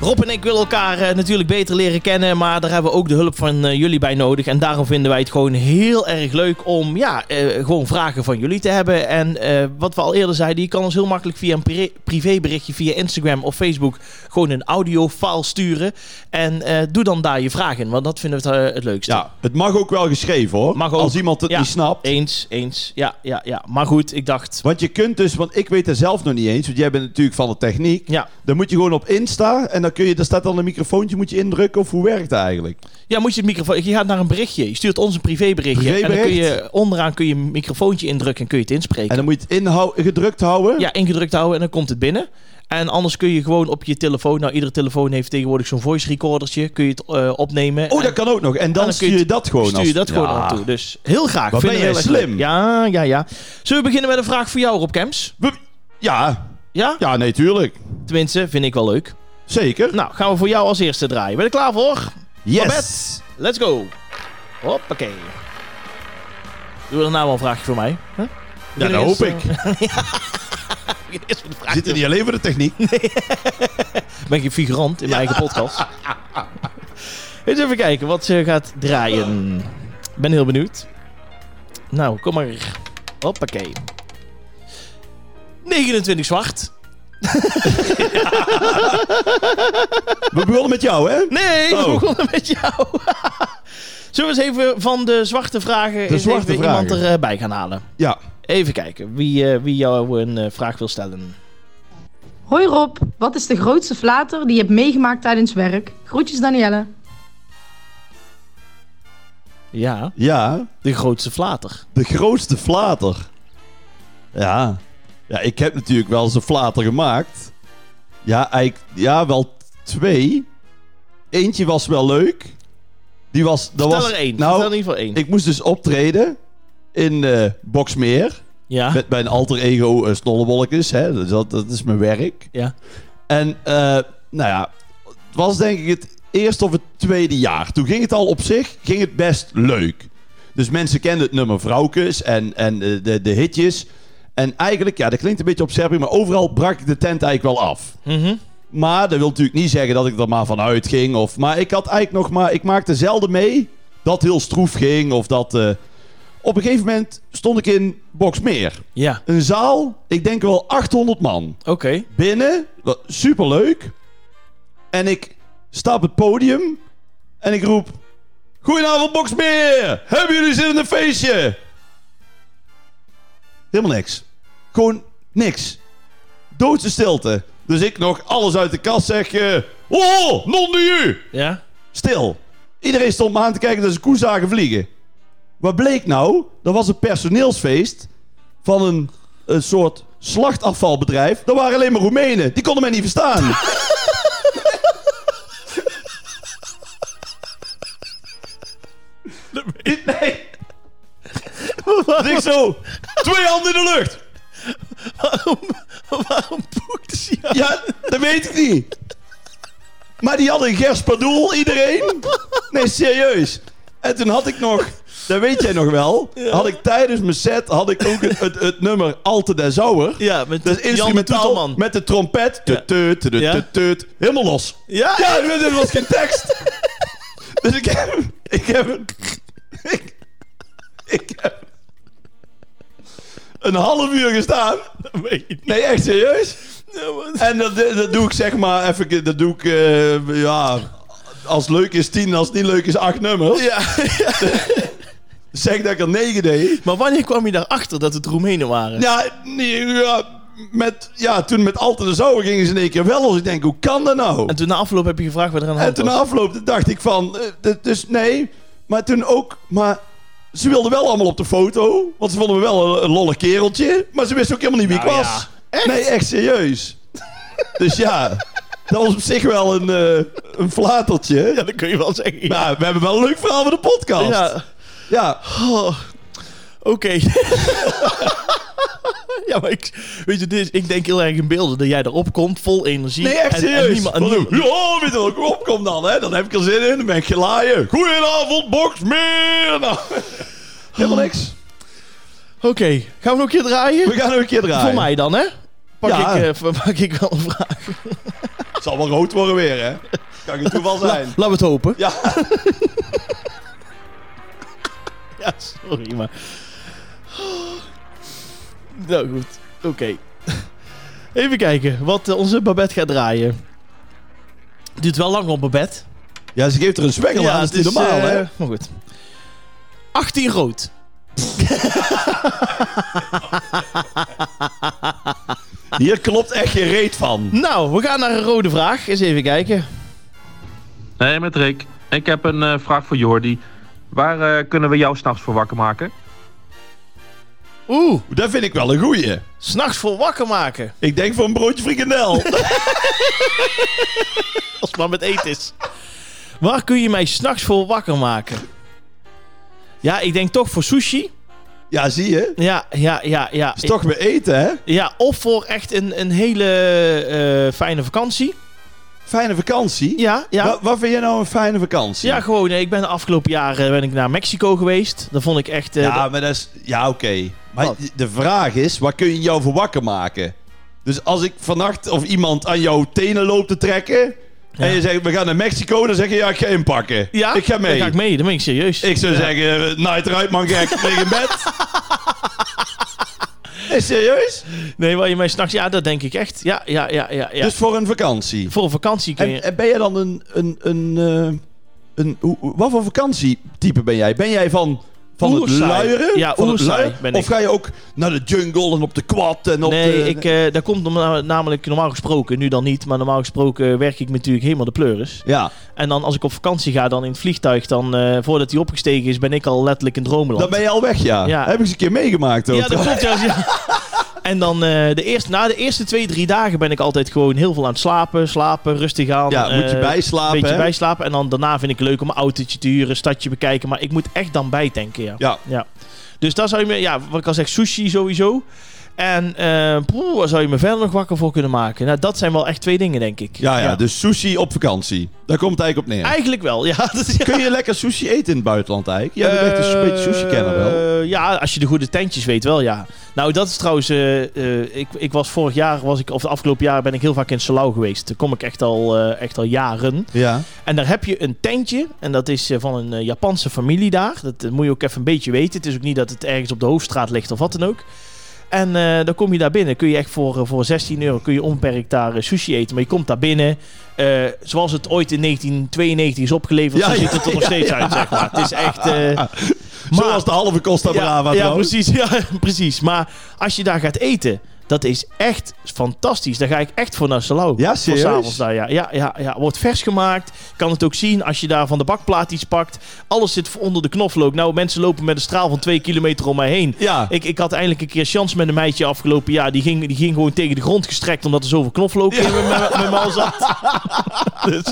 [SPEAKER 1] Rob en ik willen elkaar eh, natuurlijk beter leren kennen, maar daar hebben we ook de hulp van eh, jullie bij nodig. En daarom vinden wij het gewoon heel erg leuk om ja, eh, gewoon vragen van jullie te hebben. En eh, wat we al eerder zeiden, je kan ons heel makkelijk via een pri- privéberichtje via Instagram of Facebook gewoon een audiofile sturen. En eh, doe dan daar je vragen in, want dat vinden we het, eh, het leukste.
[SPEAKER 2] Ja, het mag ook wel geschreven hoor.
[SPEAKER 1] Mag ook.
[SPEAKER 2] Als iemand het
[SPEAKER 1] Ja.
[SPEAKER 2] niet snapt.
[SPEAKER 1] Eens, eens. Ja, ja, ja. Maar goed, ik dacht...
[SPEAKER 2] Want je kunt dus, want ik weet er zelf nog niet eens, want jij bent natuurlijk van de techniek.
[SPEAKER 1] Ja,
[SPEAKER 2] Dan moet je gewoon op Insta en dan dan kun je, daar staat dan een microfoontje, moet je indrukken of hoe werkt dat eigenlijk?
[SPEAKER 1] Ja, moet je het microfoon... Je gaat naar een berichtje. Je stuurt ons een privéberichtje. En dan kun
[SPEAKER 2] Privébericht?
[SPEAKER 1] je, onderaan kun je een microfoontje indrukken en kun je het inspreken.
[SPEAKER 2] En dan moet je het inhou- gedrukt houden.
[SPEAKER 1] Ja, ingedrukt houden en dan komt het binnen. En anders kun je gewoon op je telefoon... Nou, iedere telefoon heeft tegenwoordig zo'n voice recordertje. Kun je het eh, opnemen.
[SPEAKER 2] Oh,
[SPEAKER 1] En-
[SPEAKER 2] dat kan ook nog. En
[SPEAKER 1] dan
[SPEAKER 2] dan,
[SPEAKER 1] kun je
[SPEAKER 2] stuur je
[SPEAKER 1] het-
[SPEAKER 2] dat gewoon
[SPEAKER 1] Stuur je dat gewoon
[SPEAKER 2] aan
[SPEAKER 1] aan toe. Dus heel graag.
[SPEAKER 2] Wat
[SPEAKER 1] Vinden
[SPEAKER 2] ben
[SPEAKER 1] we
[SPEAKER 2] jij
[SPEAKER 1] heel erg
[SPEAKER 2] slim.
[SPEAKER 1] leuk. Ja, ja, ja. Zullen we beginnen met een vraag voor jou, Rob Kems?
[SPEAKER 2] Ja,
[SPEAKER 1] Ja?
[SPEAKER 2] ja, nee, tuurlijk.
[SPEAKER 1] Tenminste, vind ik wel leuk.
[SPEAKER 2] Zeker.
[SPEAKER 1] Nou, gaan we voor jou als eerste draaien. Ben je er klaar voor?
[SPEAKER 2] yes.
[SPEAKER 1] Let's go. Hoppakee. Doe daarna wel een vraagje voor mij. Huh?
[SPEAKER 2] Ja,
[SPEAKER 1] Begin
[SPEAKER 2] dat
[SPEAKER 1] eerst,
[SPEAKER 2] hoop ik.
[SPEAKER 1] eh, <laughs> begin eerst met de vraag.
[SPEAKER 2] Zit er niet alleen voor de techniek.
[SPEAKER 1] <laughs> Ik ben geen figurant in mijn eigen
[SPEAKER 2] <laughs>
[SPEAKER 1] podcast. Eens even kijken wat ze gaat draaien. Ik ben heel benieuwd. Nou, kom maar. Hoppakee. 29 zwart.
[SPEAKER 2] We begonnen met jou, hè?
[SPEAKER 1] Nee,
[SPEAKER 2] Oh.
[SPEAKER 1] we begonnen met jou. <laughs> Zullen we eens even van de zwarte vragen eens
[SPEAKER 2] zwarte
[SPEAKER 1] even
[SPEAKER 2] vragen.
[SPEAKER 1] iemand erbij gaan halen?
[SPEAKER 2] Ja.
[SPEAKER 1] Even kijken wie, eh, wie jou een eh, vraag wil stellen.
[SPEAKER 4] Hoi Rob, wat is de grootste flater die je hebt meegemaakt tijdens werk? Groetjes Danielle.
[SPEAKER 1] Ja,
[SPEAKER 2] Ja,
[SPEAKER 1] de grootste flater.
[SPEAKER 2] de grootste flater. Ja. Ja, ik heb natuurlijk wel eens een flater gemaakt. Ja, eigenlijk, ja wel twee. Eentje was wel leuk. Die was... Dat
[SPEAKER 1] Vertel
[SPEAKER 2] was,
[SPEAKER 1] er één.
[SPEAKER 2] Nou,
[SPEAKER 1] Vertel in ieder geval één.
[SPEAKER 2] ik moest dus optreden in eh Boksmeer.
[SPEAKER 1] ja,
[SPEAKER 2] Met mijn alter ego eh Snollewolkes. Hè? Dus dat, dat is mijn werk.
[SPEAKER 1] ja.
[SPEAKER 2] En eh, nou ja, het was denk ik het eerste of het tweede jaar. Toen ging het al op zich, ging het best leuk. Dus mensen kenden het nummer Vrouwkes en, en eh, de, de hitjes. En eigenlijk, ja, dat klinkt een beetje op Serbië, maar overal brak ik de tent eigenlijk wel af.
[SPEAKER 1] Mhm.
[SPEAKER 2] Maar dat wil natuurlijk niet zeggen dat ik er maar van uitging. Of, maar ik had eigenlijk nog maar. Ik maakte zelden mee dat heel stroef ging. Of dat. eh, op een gegeven moment stond ik in Boksmeer.
[SPEAKER 1] Ja,
[SPEAKER 2] Een zaal, ik denk wel 800 man
[SPEAKER 1] oké.
[SPEAKER 2] binnen. Wat Superleuk. En ik sta op het podium. En ik roep... Goedenavond, Boksmeer! Hebben jullie zin in een feestje? Helemaal niks. Gewoon niks. Doodse stilte. Dus ik nog alles uit de kast zeg... eh, oh, non de you!
[SPEAKER 1] Ja.
[SPEAKER 2] Stil. Iedereen stond me aan te kijken dat ze koe zagen vliegen. Wat bleek nou? Dat was een personeelsfeest van een, een soort slachtafvalbedrijf. Dat waren alleen maar Roemenen. Die konden mij niet verstaan. Dit- Nee. Dus ik zo, twee handen in de lucht.
[SPEAKER 1] Waarom, waarom boekte ze jou?
[SPEAKER 2] <laughs> Ja, dat weet ik niet. Maar die hadden gerspadoel, iedereen. Nee, serieus. En toen had ik nog, dat weet jij nog wel, had ik tijdens mijn set had ik ook het, het, het nummer Alte der Zouwer.
[SPEAKER 1] Ja, met
[SPEAKER 2] Dat is instrumentaal met de trompet. Tut, tut, tut,
[SPEAKER 1] Ja.
[SPEAKER 2] tut, tut. Helemaal los.
[SPEAKER 1] Ja?
[SPEAKER 2] Ja, dit was geen
[SPEAKER 1] <laughs>
[SPEAKER 2] tekst. Dus ik heb... Ik heb een... Ik, ik heb... Een half uur gestaan. Nee, echt serieus. En dat, dat doe ik zeg maar even... Dat doe ik... eh, ja... Als het leuk is tien, als het niet leuk is acht nummers.
[SPEAKER 1] Ja.
[SPEAKER 2] Zeg dat ik er negen deed.
[SPEAKER 1] Maar wanneer kwam je daarachter dat het Roemenen waren?
[SPEAKER 2] Ja, nee, ja, met, ja toen met Alte de Zouwer gingen ze in één keer wel los. Ik denk, hoe kan dat nou?
[SPEAKER 1] En toen na afloop heb je gevraagd wat er aan de
[SPEAKER 2] En
[SPEAKER 1] hand
[SPEAKER 2] toen na
[SPEAKER 1] was.
[SPEAKER 2] afloop dacht ik van, eh, dit- dus nee. Maar toen ook, maar ze wilden wel allemaal op de foto. Want ze vonden me wel een, een lollig kereltje. Maar ze wisten ook helemaal niet wie
[SPEAKER 1] Nou
[SPEAKER 2] ik was. Nee, echt serieus. dus ja, dat was op zich wel een, eh, een flatertje.
[SPEAKER 1] dat kun je wel zeggen. Ja.
[SPEAKER 2] Maar we hebben wel een leuk verhaal voor de podcast.
[SPEAKER 1] Ja.
[SPEAKER 2] ja.
[SPEAKER 1] Oh, Oké. <laughs> ja, maar ik, weet je, dit is, ik denk heel erg in beelden dat jij erop komt, vol energie.
[SPEAKER 2] Nee, echt
[SPEAKER 1] en- en
[SPEAKER 2] serieus.
[SPEAKER 1] niemand- en
[SPEAKER 2] Wat
[SPEAKER 1] niemand-
[SPEAKER 2] doen we? ja, weet je wel, kom op, kom dan. Hè. Dan heb ik er zin in. Dan ben ik gelaaien. Goedenavond, Boksmeer.
[SPEAKER 1] <laughs>
[SPEAKER 2] Nou, helemaal niks.
[SPEAKER 1] Oké, gaan we nog een keer draaien?
[SPEAKER 2] We gaan nog een keer draaien.
[SPEAKER 1] Voor mij dan, hè? Pak,
[SPEAKER 2] Ja.
[SPEAKER 1] ik, eh, <laughs> pak ik wel een vraag.
[SPEAKER 2] Het zal wel rood worden weer, hè. Kan
[SPEAKER 1] <laughs>
[SPEAKER 2] het toeval zijn.
[SPEAKER 1] Laten we het hopen.
[SPEAKER 2] Ja.
[SPEAKER 1] <laughs> Ja, sorry, maar... Nou goed, oké. Even kijken wat eh, onze Babette gaat draaien. Duurt wel lang op Babette.
[SPEAKER 2] Ja, ze geeft er een zwengel aan. Dat is niet
[SPEAKER 1] dus,
[SPEAKER 2] normaal,
[SPEAKER 1] eh,
[SPEAKER 2] hè.
[SPEAKER 1] Maar goed. 18 rood.
[SPEAKER 2] Hier klopt echt geen reet van.
[SPEAKER 1] Nou, we gaan naar een rode vraag. Eens even kijken.
[SPEAKER 5] Hey, met Rick. Ik heb een eh, vraag voor Jordi. Waar eh, kunnen we jou s'nachts voor wakker maken?
[SPEAKER 1] Oeh,
[SPEAKER 2] Dat vind ik wel een goeie.
[SPEAKER 1] s'nachts voor wakker maken.
[SPEAKER 2] Ik denk voor een broodje
[SPEAKER 1] <laughs>
[SPEAKER 2] frikandel.
[SPEAKER 1] Als het maar met eten is. Waar kun je mij s'nachts voor wakker maken? Ja, ik denk toch voor sushi.
[SPEAKER 2] ja, zie je?
[SPEAKER 1] Ja, ja, ja, ja.
[SPEAKER 2] Is toch weer eten, hè?
[SPEAKER 1] Ja, of voor echt een, een hele eh, fijne vakantie.
[SPEAKER 2] Fijne vakantie.
[SPEAKER 1] Ja, ja.
[SPEAKER 2] Wa- wat vind jij nou een fijne vakantie?
[SPEAKER 1] ja, gewoon. nee, Ik ben de afgelopen jaren eh, ben ik naar Mexico geweest. Dat vond ik echt... eh,
[SPEAKER 2] Ja, maar dat is... Ja, oké. Maar
[SPEAKER 1] Wat?
[SPEAKER 2] de vraag is, waar kun je jou voor wakker maken? Dus als ik vannacht of iemand aan jouw tenen loopt te trekken... en je zegt, we gaan naar Mexico, dan zeg je, ja, ik ga inpakken.
[SPEAKER 1] ja,
[SPEAKER 2] Ik ga mee.
[SPEAKER 1] Dan ga ik mee, dan ben ik serieus.
[SPEAKER 2] Ik zou zeggen, eh, night eruit man gek, <laughs> tegen in
[SPEAKER 1] <laughs>
[SPEAKER 2] bed. Is serieus?
[SPEAKER 1] Nee, waar je mij s'nachts... Ja, dat denk ik echt. Ja, ja, ja, ja. ja.
[SPEAKER 2] Dus voor een vakantie.
[SPEAKER 1] voor een vakantie kun je...
[SPEAKER 2] En, en ben jij dan een... een, een, eh, een hoe- hoe- wat voor vakantietype ben jij? Ben jij van... Van het
[SPEAKER 1] Oerzaai.
[SPEAKER 2] luieren?
[SPEAKER 1] Ja,
[SPEAKER 2] van het
[SPEAKER 1] oerzaai
[SPEAKER 2] luieren?
[SPEAKER 1] ben
[SPEAKER 2] Of
[SPEAKER 1] ik.
[SPEAKER 2] ga je ook naar de jungle en op de quad en op
[SPEAKER 1] nee,
[SPEAKER 2] de...
[SPEAKER 1] ik, eh dat komt om- namelijk normaal gesproken, nu dan niet, maar normaal gesproken werk ik natuurlijk helemaal de pleuris.
[SPEAKER 2] Ja,
[SPEAKER 1] En dan als ik op vakantie ga, dan in het vliegtuig, dan eh, voordat hij opgestegen is, ben ik al letterlijk in droomland.
[SPEAKER 2] dan ben je al weg, ja.
[SPEAKER 1] Ja.
[SPEAKER 2] Heb ik eens een keer meegemaakt ook.
[SPEAKER 1] ja, dat klopt. Ja,
[SPEAKER 2] <laughs>
[SPEAKER 1] ja. En dan eh, de eerste, na de eerste twee, drie dagen ben ik altijd gewoon heel veel aan het slapen, slapen, rustig aan.
[SPEAKER 2] Ja, moet je
[SPEAKER 1] eh,
[SPEAKER 2] bijslapen,
[SPEAKER 1] Een beetje
[SPEAKER 2] hè?
[SPEAKER 1] bijslapen. En dan daarna vind ik het leuk om een autootje te huren, een stadje bekijken. Maar ik moet echt dan bijtanken, ja.
[SPEAKER 2] Ja,
[SPEAKER 1] Ja. Dus daar zou je me, ja, wat ik al zeg, sushi sowieso. En eh poeh, waar zou je me verder nog wakker voor kunnen maken? Nou, dat zijn wel echt twee dingen, denk ik.
[SPEAKER 2] ja, ja, dus sushi op vakantie. Daar komt het eigenlijk op neer.
[SPEAKER 1] Eigenlijk wel, ja. <laughs> Dat is,
[SPEAKER 2] Kun je lekker sushi eten in het buitenland eigenlijk? Jij bent echt dus een
[SPEAKER 1] Eh,
[SPEAKER 2] beetje sushi-kenner wel.
[SPEAKER 1] Ja, als je de goede tentjes weet wel, ja. Nou, dat is trouwens... eh, eh, ik, ik was vorig jaar, was ik, of de afgelopen jaren ben ik heel vaak in Salau geweest. Daar kom ik echt al, eh, echt al jaren.
[SPEAKER 2] Ja.
[SPEAKER 1] En daar heb je een tentje. En dat is eh, van een eh, Japanse familie daar. Dat eh, moet je ook even een beetje weten. Het is ook niet dat het ergens op de hoofdstraat ligt of wat dan ook. En eh, dan kom je daar binnen. Kun je echt voor, eh, voor 16 euro kun je onbeperkt daar eh, sushi eten. Maar je komt daar binnen. eh, zoals het ooit in 1992 is opgeleverd.
[SPEAKER 2] Ja,
[SPEAKER 1] zo
[SPEAKER 2] ja,
[SPEAKER 1] ziet het er nog
[SPEAKER 2] ja,
[SPEAKER 1] steeds uit, zeg maar. Het is echt...
[SPEAKER 2] <laughs>
[SPEAKER 1] eh,
[SPEAKER 2] Zoals de halve Costa Brava
[SPEAKER 1] ja, ja,
[SPEAKER 2] trouwens.
[SPEAKER 1] precies, <laughs> ja, precies. Maar als je daar gaat eten, dat is echt fantastisch. Daar ga ik echt voor naar Salau.
[SPEAKER 2] Ja,
[SPEAKER 1] Voor
[SPEAKER 2] serieus?
[SPEAKER 1] s'avonds daar, ja. Ja, ja, ja. Wordt vers gemaakt. Kan het ook zien als je daar van de bakplaat iets pakt. Alles zit onder de knoflook. Nou, mensen lopen met een straal van twee kilometer om mij heen.
[SPEAKER 2] Ja.
[SPEAKER 1] Ik, ik had eindelijk een keer chance met een meidje afgelopen jaar. Die ging, die ging gewoon tegen de grond gestrekt omdat er zoveel knoflook in mijn- mijn mijn mouw zat.
[SPEAKER 2] <laughs>
[SPEAKER 1] dus,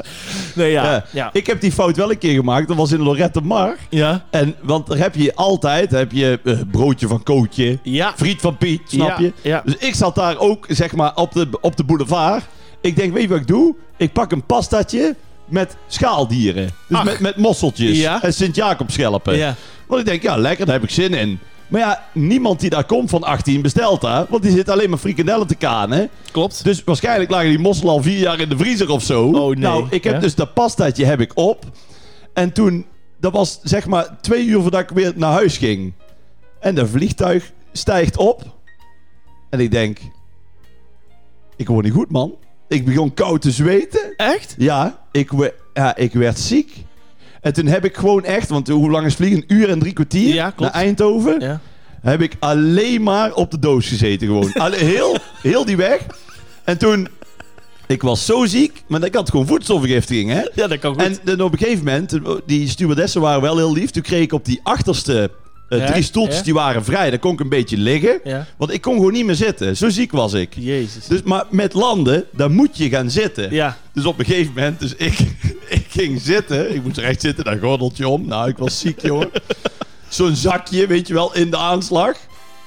[SPEAKER 1] nee, ja.
[SPEAKER 2] Ja.
[SPEAKER 1] Ja.
[SPEAKER 2] Eh, Ik heb die fout wel een keer gemaakt. Dat was in Lorette Mar.
[SPEAKER 1] ja.
[SPEAKER 2] En, want daar heb je altijd heb je, eh, broodje van Kootje,
[SPEAKER 1] Ja.
[SPEAKER 2] friet van Piet, snap
[SPEAKER 1] Ja,
[SPEAKER 2] je?
[SPEAKER 1] ja.
[SPEAKER 2] Dus ik zat daar ook zeg maar, op, de, op de boulevard. Ik denk, weet je wat ik doe? Ik pak een pastatje met schaaldieren. Dus
[SPEAKER 1] Ach.
[SPEAKER 2] met, met mosseltjes
[SPEAKER 1] Ja.
[SPEAKER 2] en Sint-Jacobschelpen.
[SPEAKER 1] Ja.
[SPEAKER 2] Want ik denk, ja, lekker, daar heb ik zin in. Maar ja, niemand die daar komt van 18 bestelt daar. Want die zit alleen maar frikandellen te kanen.
[SPEAKER 1] Klopt.
[SPEAKER 2] Dus waarschijnlijk lagen die mosselen al vier jaar in de vriezer of zo.
[SPEAKER 1] Oh, nee.
[SPEAKER 2] Nou, ik heb
[SPEAKER 1] Ja.
[SPEAKER 2] dus dat pastaatje heb ik op. En toen, dat was zeg maar twee uur voordat ik weer naar huis ging. En dat vliegtuig stijgt op. En ik denk, ik word niet goed, man. Ik begon koud te zweten.
[SPEAKER 1] Echt?
[SPEAKER 2] Ja, ik, we- ja, ik werd ziek. En toen heb ik gewoon echt, want hoe lang is vliegen? Een uur en drie kwartier
[SPEAKER 1] Ja, klopt.
[SPEAKER 2] naar Eindhoven
[SPEAKER 1] Ja.
[SPEAKER 2] heb ik alleen maar op de doos gezeten
[SPEAKER 1] <laughs>
[SPEAKER 2] gewoon. Alle, heel, heel die weg. En toen, ik was zo ziek, maar ik had gewoon voedselvergiftiging, hè.
[SPEAKER 1] Ja, dat kan goed.
[SPEAKER 2] En dan op een gegeven moment, die stewardessen waren wel heel lief. Toen kreeg ik op die achterste eh,
[SPEAKER 1] Ja,
[SPEAKER 2] drie stoeltjes,
[SPEAKER 1] ja.
[SPEAKER 2] die waren vrij. Daar kon ik een beetje liggen,
[SPEAKER 1] Ja.
[SPEAKER 2] want ik kon gewoon niet meer zitten. Zo ziek was ik.
[SPEAKER 1] Jezus.
[SPEAKER 2] Dus, maar met landen, daar moet je gaan zitten.
[SPEAKER 1] Ja.
[SPEAKER 2] Dus op een gegeven moment, dus ik, <laughs> ik ging zitten. Ik moest recht zitten, daar gordeltje om. Nou, ik was ziek, jongen. Zo'n zakje, weet je wel, in de aanslag.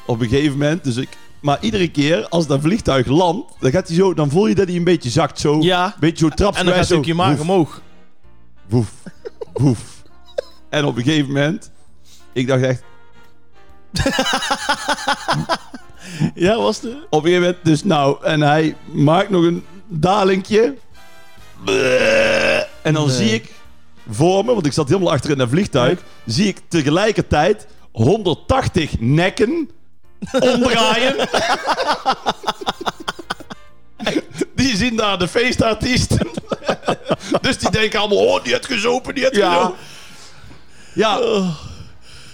[SPEAKER 2] Op een gegeven moment, dus ik... Maar iedere keer als dat vliegtuig landt, dan, gaat hij zo, dan voel je dat hij een beetje zakt. Zo,
[SPEAKER 1] Ja.
[SPEAKER 2] Een beetje zo trapsgewijs.
[SPEAKER 1] En dan gaat
[SPEAKER 2] zo,
[SPEAKER 1] ook je maag
[SPEAKER 2] woef,
[SPEAKER 1] omhoog.
[SPEAKER 2] woef, woef. En op een gegeven moment, ik dacht echt...
[SPEAKER 1] <laughs> Ja, was de.
[SPEAKER 2] Op een gegeven moment, dus nou, en hij maakt nog een dalinkje. Bleh. En dan
[SPEAKER 1] Nee.
[SPEAKER 2] zie ik voor me, want ik zat helemaal achter in dat vliegtuig, zie ik tegelijkertijd 180 nekken
[SPEAKER 1] <laughs>
[SPEAKER 2] omdraaien. Die zien daar de
[SPEAKER 1] <laughs>
[SPEAKER 2] feestartiesten. dus die denken allemaal, oh, die heeft gezopen, die heeft
[SPEAKER 1] Ja. Oh.
[SPEAKER 2] gezopen. Ja.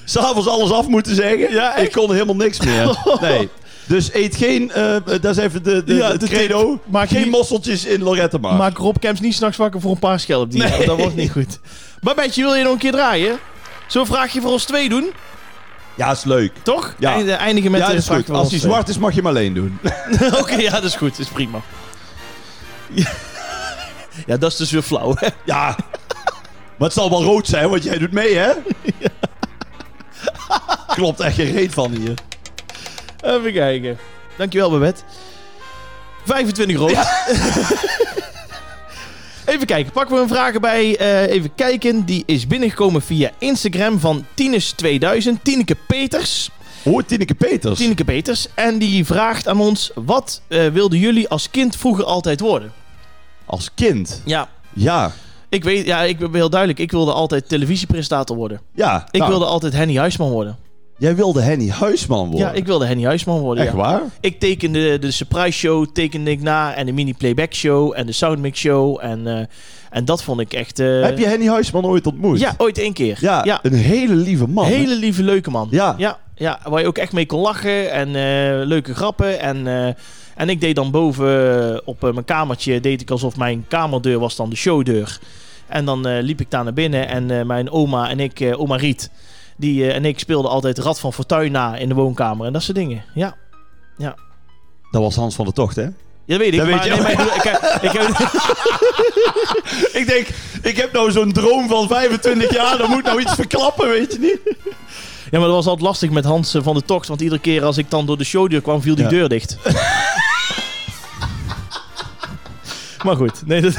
[SPEAKER 2] S'avonds alles af moeten zeggen.
[SPEAKER 1] Ja, echt? <laughs>
[SPEAKER 2] ik kon helemaal niks meer. Nee. Dus eet geen, eh, dat is even de, de,
[SPEAKER 1] Ja,
[SPEAKER 2] het
[SPEAKER 1] de
[SPEAKER 2] credo,
[SPEAKER 1] Maak
[SPEAKER 2] geen
[SPEAKER 1] niet-
[SPEAKER 2] mosseltjes in Lorette maar.
[SPEAKER 1] Maak Rob Kemps niet s'nachts wakker voor een paar schelp. Die, Dat wordt niet goed. Maar Betje, wil je nog een keer draaien? Zo'n vraagje voor ons twee doen,
[SPEAKER 2] Ja, is leuk.
[SPEAKER 1] toch?
[SPEAKER 2] Ja.
[SPEAKER 1] Eind- Eindigen met
[SPEAKER 2] ja,
[SPEAKER 1] de
[SPEAKER 2] dat is
[SPEAKER 1] vraag
[SPEAKER 2] goed. Als hij zwart is, mag je hem alleen doen.
[SPEAKER 1] Oké, <laughs> ja, dat is goed. Dat is prima. Ja, dat is dus weer flauw, hè?
[SPEAKER 2] <laughs> ja. Maar het zal wel rood zijn, want jij doet mee,
[SPEAKER 1] <laughs>
[SPEAKER 2] hè? Klopt echt geen reet van hier.
[SPEAKER 1] Even kijken. Dankjewel, Babette. 25 rood. <laughs> even kijken. Pakken we een vraag bij. eh, even kijken. Die is binnengekomen via Instagram van Tines2000. Tineke Peters.
[SPEAKER 2] Hoort Tineke Peters.
[SPEAKER 1] Tineke Peters. En die vraagt aan ons... Wat eh, wilden jullie als kind vroeger altijd worden?
[SPEAKER 2] Als kind.
[SPEAKER 1] Ja,
[SPEAKER 2] Ja.
[SPEAKER 1] ik weet... Ja, ik ben heel duidelijk. Ik wilde altijd televisiepresentator worden.
[SPEAKER 2] Ja.
[SPEAKER 1] Ik
[SPEAKER 2] nou,
[SPEAKER 1] wilde altijd Henny Huisman worden.
[SPEAKER 2] Jij wilde Henny Huisman worden.
[SPEAKER 1] Ja, ik wilde Henny Huisman worden.
[SPEAKER 2] Echt
[SPEAKER 1] ja.
[SPEAKER 2] waar?
[SPEAKER 1] Ik tekende de surprise show, tekende ik na. En de mini playback show en de soundmix show. En, eh, en dat vond ik echt... eh,
[SPEAKER 2] Heb je Henny Huisman ooit ontmoet?
[SPEAKER 1] Ja, ooit één keer.
[SPEAKER 2] Ja,
[SPEAKER 1] ja.
[SPEAKER 2] een hele lieve man. hè?
[SPEAKER 1] Hele lieve, leuke man.
[SPEAKER 2] Ja.
[SPEAKER 1] ja. ja, waar je ook echt mee kon lachen en eh, leuke grappen. En, eh, en ik deed dan boven eh, op eh, mijn kamertje, deed ik alsof mijn kamerdeur was dan de showdeur. En dan eh, liep ik daar naar binnen en eh, mijn oma en ik, eh, oma Riet, die eh, en ik speelden altijd Rad van Fortuin na in de woonkamer en dat soort dingen. Ja,
[SPEAKER 2] Dat was Hans van der Tocht, hè?
[SPEAKER 1] ja dat weet ik.
[SPEAKER 2] Dat
[SPEAKER 1] maar,
[SPEAKER 2] weet je
[SPEAKER 1] nee,
[SPEAKER 2] ook.
[SPEAKER 1] maar ik, bedoel, ik, heb- ik heb-
[SPEAKER 2] Ik denk, ik heb nou zo'n droom van 25 jaar, dan moet nou iets verklappen, weet je niet?
[SPEAKER 1] <laughs> ja, maar dat was altijd lastig met Hans eh, van de Tocht, want iedere keer als ik dan door de showdeur kwam, viel die
[SPEAKER 2] Ja.
[SPEAKER 1] deur <laughs> dicht. Maar goed, nee, dat...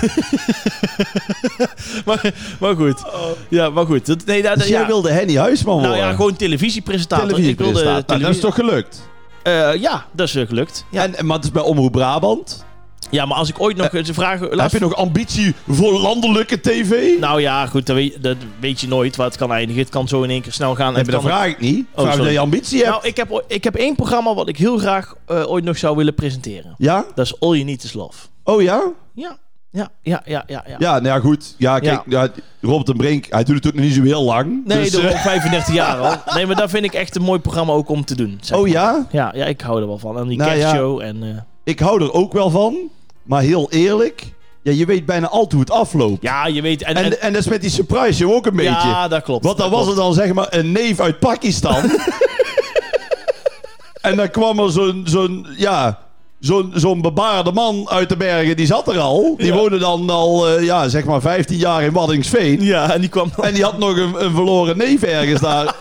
[SPEAKER 1] maar, maar goed. Ja, maar goed. Dat, nee, dat,
[SPEAKER 2] Dus
[SPEAKER 1] ja.
[SPEAKER 2] jij wilde Henny Huisman
[SPEAKER 1] Nou
[SPEAKER 2] worden?
[SPEAKER 1] ja, gewoon televisiepresentator. Ik wilde
[SPEAKER 2] televisiepresentator. Nou, dat is
[SPEAKER 1] televisie-
[SPEAKER 2] toch gelukt?
[SPEAKER 1] Eh, ja, dat is eh, gelukt. Ja.
[SPEAKER 2] En, maar het is bij Omroep Brabant.
[SPEAKER 1] ja, maar als ik ooit nog eens een vraag...
[SPEAKER 2] Eh, Heb je nog ambitie voor landelijke tv?
[SPEAKER 1] Nou ja, goed, dat weet, dat weet je nooit waar het kan eindigen. Het kan zo in één keer snel gaan. en
[SPEAKER 2] Nee,
[SPEAKER 1] het
[SPEAKER 2] maar dat
[SPEAKER 1] kan-
[SPEAKER 2] vraag ik niet.
[SPEAKER 1] Oh,
[SPEAKER 2] Vraag of
[SPEAKER 1] sorry.
[SPEAKER 2] je ambitie hebt.
[SPEAKER 1] Nou, ik heb, o- ik heb één programma wat ik heel graag eh, ooit nog zou willen presenteren.
[SPEAKER 2] Ja?
[SPEAKER 1] Dat is All You Need Is Love.
[SPEAKER 2] Oh ja?
[SPEAKER 1] Ja, ja, ja, ja, ja. ja.
[SPEAKER 2] Ja, nou ja, goed. Ja, kijk, ja, Rob den Brink, hij doet het ook nog niet zo heel lang.
[SPEAKER 1] Nee,
[SPEAKER 2] dus,
[SPEAKER 1] dat
[SPEAKER 2] eh,
[SPEAKER 1] was 35 jaar
[SPEAKER 2] <laughs>
[SPEAKER 1] al. Nee, maar dat vind ik echt een mooi programma ook om te doen. zeg
[SPEAKER 2] Oh
[SPEAKER 1] maar.
[SPEAKER 2] ja?
[SPEAKER 1] Ja, ja, ik hou er wel van. En die
[SPEAKER 2] Nou ja.
[SPEAKER 1] kerstshow en... eh,
[SPEAKER 2] Ik hou er ook wel van, maar heel eerlijk, ja, je weet bijna altijd hoe het afloopt.
[SPEAKER 1] Ja, je weet. En,
[SPEAKER 2] En, en, dat is met die surprise show ook een beetje.
[SPEAKER 1] ja, dat klopt.
[SPEAKER 2] Want dan
[SPEAKER 1] dat
[SPEAKER 2] was er
[SPEAKER 1] klopt.
[SPEAKER 2] dan zeg maar een neef uit Pakistan.
[SPEAKER 1] <laughs>
[SPEAKER 2] en dan kwam er zo'n, zo'n ja, zo'n, zo'n bebaarde man uit de bergen, die zat er al. Die
[SPEAKER 1] Ja.
[SPEAKER 2] woonde dan al, eh, ja, zeg maar 15 jaar in Waddingsveen.
[SPEAKER 1] Ja, en die
[SPEAKER 2] <laughs>
[SPEAKER 1] kwam.
[SPEAKER 2] En die had nog een, een verloren neef ergens daar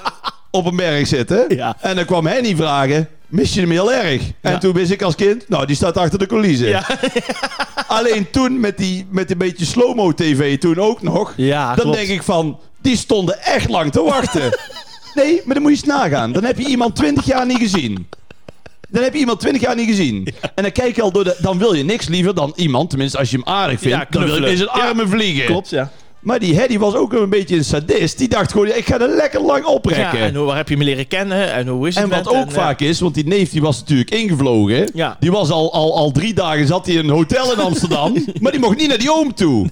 [SPEAKER 2] op een berg zitten.
[SPEAKER 1] Ja.
[SPEAKER 2] En dan kwam Henny vragen, mis je hem heel erg? En
[SPEAKER 1] Ja.
[SPEAKER 2] toen wist ik als kind, nou, die staat achter de coulissen.
[SPEAKER 1] Ja.
[SPEAKER 2] <laughs> Alleen toen met die, met een beetje slow-mo tv toen ook nog.
[SPEAKER 1] Ja,
[SPEAKER 2] dan
[SPEAKER 1] klopt.
[SPEAKER 2] denk ik van, die stonden echt lang te wachten.
[SPEAKER 1] <laughs>
[SPEAKER 2] nee, maar dan moet je eens nagaan. Dan heb je iemand 20 jaar niet gezien. Dan heb je iemand 20 jaar niet gezien. En dan kijk je al door de... Dan wil je niks liever dan iemand, tenminste als je hem aardig vindt...
[SPEAKER 1] Ja,
[SPEAKER 2] dan wil je
[SPEAKER 1] knuffelen.
[SPEAKER 2] in zijn armen vliegen.
[SPEAKER 1] Klopt, ja.
[SPEAKER 2] Maar die Hedy was ook een beetje een sadist. Die dacht gewoon, ik ga er lekker lang
[SPEAKER 1] ja.
[SPEAKER 2] oprekken.
[SPEAKER 1] En
[SPEAKER 2] en,
[SPEAKER 1] hoe, waar heb je me leren kennen? En hoe is het? met-
[SPEAKER 2] wat ook
[SPEAKER 1] en, eh,
[SPEAKER 2] vaak is, want die neef die was natuurlijk ingevlogen.
[SPEAKER 1] Ja.
[SPEAKER 2] Die was al, al, al drie dagen zat hij in een hotel in
[SPEAKER 1] <laughs>
[SPEAKER 2] Amsterdam. maar die mocht niet naar die oom toe.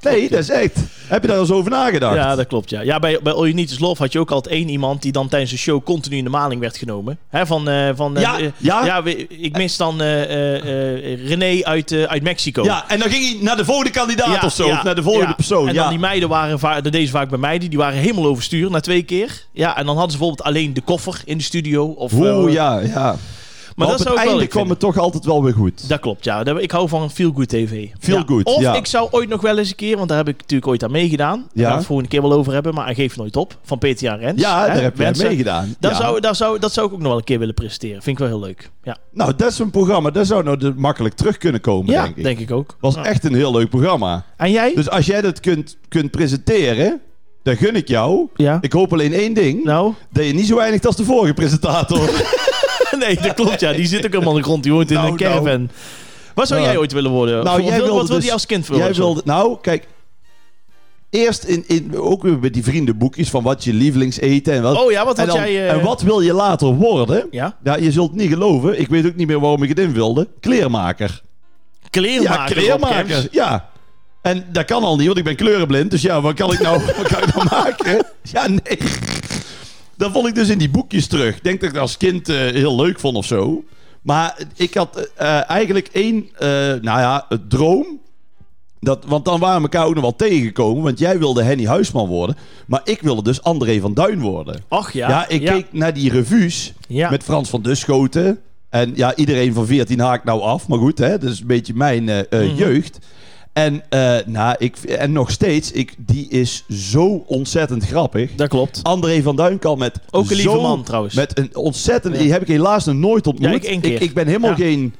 [SPEAKER 2] Nee, dat is echt. Heb je daar eens over nagedacht?
[SPEAKER 1] Ja, dat klopt, ja. Ja, bij, bij All You Need Is Love had je ook altijd één iemand die dan tijdens de show continu in de maling werd genomen. Hè, van, eh, van, eh,
[SPEAKER 2] Ja,
[SPEAKER 1] eh,
[SPEAKER 2] ja.
[SPEAKER 1] we- ik mis dan eh, eh, eh, René uit, eh, uit Mexico.
[SPEAKER 2] Ja, en dan ging hij naar de volgende kandidaat
[SPEAKER 1] Ja,
[SPEAKER 2] of zo.
[SPEAKER 1] ja,
[SPEAKER 2] of naar de volgende
[SPEAKER 1] ja.
[SPEAKER 2] persoon.
[SPEAKER 1] En
[SPEAKER 2] Ja.
[SPEAKER 1] dan die meiden waren vaak, dat deze vaak bij meiden, die waren helemaal overstuur na twee keer. Ja, en dan hadden ze bijvoorbeeld alleen de koffer in de studio. Of,
[SPEAKER 2] Oeh,
[SPEAKER 1] eh,
[SPEAKER 2] ja, ja.
[SPEAKER 1] Maar,
[SPEAKER 2] Maar
[SPEAKER 1] dat
[SPEAKER 2] op
[SPEAKER 1] zou
[SPEAKER 2] het
[SPEAKER 1] ik wel
[SPEAKER 2] einde
[SPEAKER 1] leuk
[SPEAKER 2] kwam het toch altijd wel weer goed.
[SPEAKER 1] Dat klopt, ja. Dat- Ik hou van Feel Good TV.
[SPEAKER 2] Feel
[SPEAKER 1] ja.
[SPEAKER 2] Good,
[SPEAKER 1] Of
[SPEAKER 2] ja.
[SPEAKER 1] ik zou ooit nog wel eens een keer, want daar heb ik natuurlijk ooit aan meegedaan. Daar
[SPEAKER 2] Ja.
[SPEAKER 1] gaan we het volgende keer wel over hebben, maar hij geeft nooit op. Van Peter Jan Rens.
[SPEAKER 2] ja,
[SPEAKER 1] hè,
[SPEAKER 2] daar heb je
[SPEAKER 1] Wensen.
[SPEAKER 2] meegedaan.
[SPEAKER 1] Daar
[SPEAKER 2] Ja.
[SPEAKER 1] zou, daar zou, dat zou ik ook nog wel een keer willen presenteren. Vind ik wel heel leuk. Ja,
[SPEAKER 2] Nou, dat is een programma. Dat zou nou de- makkelijk terug kunnen komen,
[SPEAKER 1] ja
[SPEAKER 2] denk ik.
[SPEAKER 1] ook.
[SPEAKER 2] was
[SPEAKER 1] Ja.
[SPEAKER 2] echt een heel leuk programma.
[SPEAKER 1] En jij?
[SPEAKER 2] Dus als jij dat kunt, kunt presenteren, dan gun ik jou.
[SPEAKER 1] ja.
[SPEAKER 2] Ik hoop alleen één ding. <laughs>
[SPEAKER 1] Nou?
[SPEAKER 2] Dat je niet zo weinig als de vorige
[SPEAKER 1] <laughs>
[SPEAKER 2] presentator.
[SPEAKER 1] nee, dat klopt, ja. Die zit ook helemaal aan de grond. Die woont in
[SPEAKER 2] Nou,
[SPEAKER 1] een caravan. Wat zou
[SPEAKER 2] Nou. dus-
[SPEAKER 1] jij ooit willen worden? Of wat wil- wat wilde je als kind worden?
[SPEAKER 2] Jij wilde, nou, kijk. Eerst in, in, ook weer met die vriendenboekjes van wat je lievelingseten en wat.
[SPEAKER 1] Oh ja, wat
[SPEAKER 2] en,
[SPEAKER 1] had
[SPEAKER 2] dan-
[SPEAKER 1] jij... eh,
[SPEAKER 2] en wat wil je later worden?
[SPEAKER 1] Ja?
[SPEAKER 2] Ja, je zult het niet geloven. Ik weet ook niet meer waarom ik het in wilde. Kleermaker.
[SPEAKER 1] Kleermaker. Rob Kemps.
[SPEAKER 2] Ja. En dat kan al niet, want ik ben kleurenblind. Dus ja, wat kan ik nou, wat kan ik nou maken? Ja, nee. Dat vond ik dus in die boekjes terug. Ik denk dat ik dat als kind eh, heel leuk vond of zo. Maar ik had eh, eigenlijk één, eh, nou ja, het droom. Dat, want dan waren we elkaar ook nog wel tegengekomen. Want jij wilde Henny Huisman worden. Maar ik wilde dus André van Duin worden.
[SPEAKER 1] Ach ja.
[SPEAKER 2] Ja, ik keek naar die revues
[SPEAKER 1] Ja.
[SPEAKER 2] met Frans van Duschoten. En ja, iedereen van 14 haakt nou af. Maar goed, hè, dat is een beetje mijn eh, eh,
[SPEAKER 1] Mhm.
[SPEAKER 2] jeugd. En, eh, nou, ik, en nog steeds, ik, die is zo ontzettend grappig.
[SPEAKER 1] Dat klopt.
[SPEAKER 2] André van Duin kan met
[SPEAKER 1] Ook een lieve
[SPEAKER 2] zo-
[SPEAKER 1] man trouwens.
[SPEAKER 2] Met een ontzettend...
[SPEAKER 1] Ja.
[SPEAKER 2] Die heb ik helaas nog nooit ontmoet.
[SPEAKER 1] Ja, ik één
[SPEAKER 2] Ik,
[SPEAKER 1] keer.
[SPEAKER 2] ben helemaal
[SPEAKER 1] Ja.
[SPEAKER 2] geen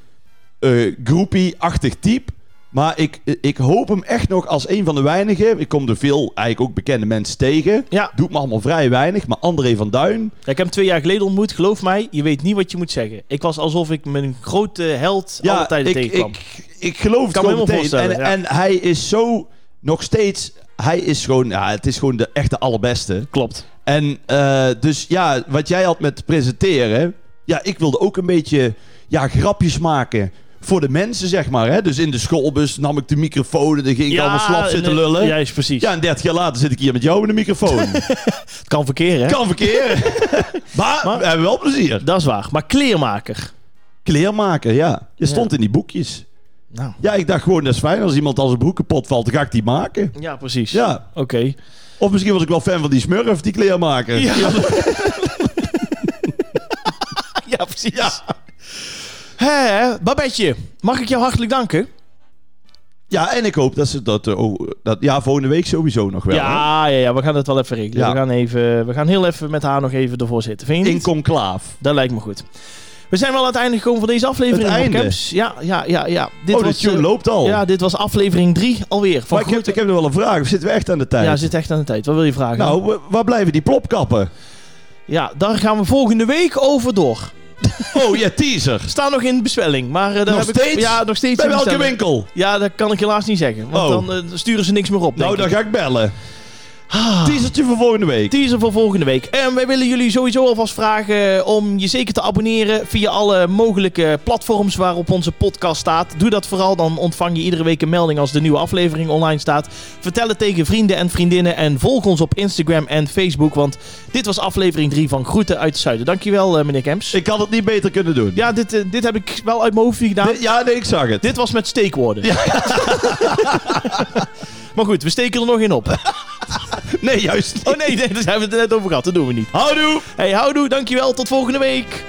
[SPEAKER 2] eh groupie-achtig type. Maar ik, eh, ik hoop hem echt nog als een van de weinigen. Ik kom er veel eigenlijk ook bekende mensen tegen.
[SPEAKER 1] Ja.
[SPEAKER 2] Doet me allemaal vrij weinig. Maar André van Duin...
[SPEAKER 1] Ja, Ik heb hem twee jaar geleden ontmoet. Geloof mij, je weet niet wat je moet zeggen. Ik was alsof ik mijn grote held
[SPEAKER 2] Ja,
[SPEAKER 1] alle tijden
[SPEAKER 2] ik,
[SPEAKER 1] tegenkwam.
[SPEAKER 2] Ik, ik geloof het
[SPEAKER 1] Kan me
[SPEAKER 2] gewoon
[SPEAKER 1] helemaal
[SPEAKER 2] meteen. En,
[SPEAKER 1] voorstellen,
[SPEAKER 2] en hij is zo... Nog steeds... Hij is gewoon... Ja, het is gewoon de echte allerbeste.
[SPEAKER 1] Klopt.
[SPEAKER 2] En eh, dus ja, wat jij had met presenteren. Ja, ik wilde ook een beetje ja, grapjes maken voor de mensen, zeg maar. Hè? Dus in de schoolbus nam ik de microfoon en dan ging ik allemaal slap zitten
[SPEAKER 1] nee,
[SPEAKER 2] lullen. Ja,
[SPEAKER 1] Juist, precies.
[SPEAKER 2] en 30 jaar later zit ik hier met jou in de
[SPEAKER 1] <laughs>
[SPEAKER 2] microfoon.
[SPEAKER 1] het kan verkeer, hè?
[SPEAKER 2] kan
[SPEAKER 1] <laughs>
[SPEAKER 2] verkeer. maar,
[SPEAKER 1] Maar-
[SPEAKER 2] we hebben wel plezier.
[SPEAKER 1] Dat is waar. Maar kleermaker.
[SPEAKER 2] Kleermaker, ja. Je stond in die boekjes.
[SPEAKER 1] Nou.
[SPEAKER 2] Ja, ik dacht gewoon, dat is fijn. Als iemand als een broek kapot valt, dan ga ik die maken.
[SPEAKER 1] Ja, precies.
[SPEAKER 2] Ja.
[SPEAKER 1] Oké.
[SPEAKER 2] <laughs> Of misschien was ik wel fan van die smurf, die kleermaker.
[SPEAKER 1] Ja. ja, precies. Hé, Babetje, mag ik jou hartelijk danken?
[SPEAKER 2] Ja, en ik hoop dat ze dat, eh, oh, dat ja, volgende week sowieso nog wel. hè?
[SPEAKER 1] ja, ja, ja, we gaan het wel even regelen.
[SPEAKER 2] Ja.
[SPEAKER 1] We, gaan even, we gaan heel even met haar nog even ervoor zitten. Vind je
[SPEAKER 2] In
[SPEAKER 1] niet?
[SPEAKER 2] conclaaf.
[SPEAKER 1] Dat lijkt me goed. We zijn wel aan het einde gekomen van deze aflevering.
[SPEAKER 2] Het
[SPEAKER 1] Rob
[SPEAKER 2] einde?
[SPEAKER 1] Kemps. Ja, ja, ja. ja. Dit
[SPEAKER 2] oh, de tune
[SPEAKER 1] eh,
[SPEAKER 2] loopt al.
[SPEAKER 1] Ja, dit was aflevering 3 alweer. Van
[SPEAKER 2] maar ik heb, ik heb nog wel een vraag. Of zitten we echt aan de tijd?
[SPEAKER 1] Ja, zit echt aan de tijd. Wat wil je vragen?
[SPEAKER 2] nou, wa- waar blijven die
[SPEAKER 1] <laughs>
[SPEAKER 2] plopkappen?
[SPEAKER 1] Ja, daar gaan we volgende week over door.
[SPEAKER 2] Oh, ja, teaser.
[SPEAKER 1] Staan nog in de bestelling, maar... eh, daar
[SPEAKER 2] Nog
[SPEAKER 1] heb ik-
[SPEAKER 2] steeds?
[SPEAKER 1] ja, nog steeds
[SPEAKER 2] Bij
[SPEAKER 1] in
[SPEAKER 2] welke
[SPEAKER 1] bestelling.
[SPEAKER 2] winkel?
[SPEAKER 1] Ja, dat kan ik helaas niet zeggen. Want
[SPEAKER 2] Oh.
[SPEAKER 1] dan eh, sturen ze niks meer op, denk
[SPEAKER 2] Nou, dan
[SPEAKER 1] ik.
[SPEAKER 2] ga ik bellen.
[SPEAKER 1] Ah.
[SPEAKER 2] Teasertje voor volgende week.
[SPEAKER 1] teaser voor volgende week. En wij willen jullie sowieso alvast vragen om je zeker te abonneren via alle mogelijke platforms waarop onze podcast staat. Doe dat vooral, dan ontvang je iedere week een melding als de nieuwe aflevering online staat. Vertel het tegen vrienden en vriendinnen en volg ons op Instagram en Facebook, want dit was aflevering 3 van Groeten uit het Zuiden. Dankjewel, eh, meneer Kemps.
[SPEAKER 2] Ik had het niet beter kunnen doen.
[SPEAKER 1] Ja, dit, eh, dit heb ik wel uit mijn hoofd gedaan.
[SPEAKER 2] Nee, ja nee, ik zag het.
[SPEAKER 1] Dit was met steekwoorden. <laughs> maar goed, we steken er nog in op.
[SPEAKER 2] <laughs> Nee, juist niet.
[SPEAKER 1] Oh nee, nee, daar hebben we het net over gehad. Dat doen we niet.
[SPEAKER 2] Houdoe!
[SPEAKER 1] Hey, houdoe. Dankjewel. Tot volgende week.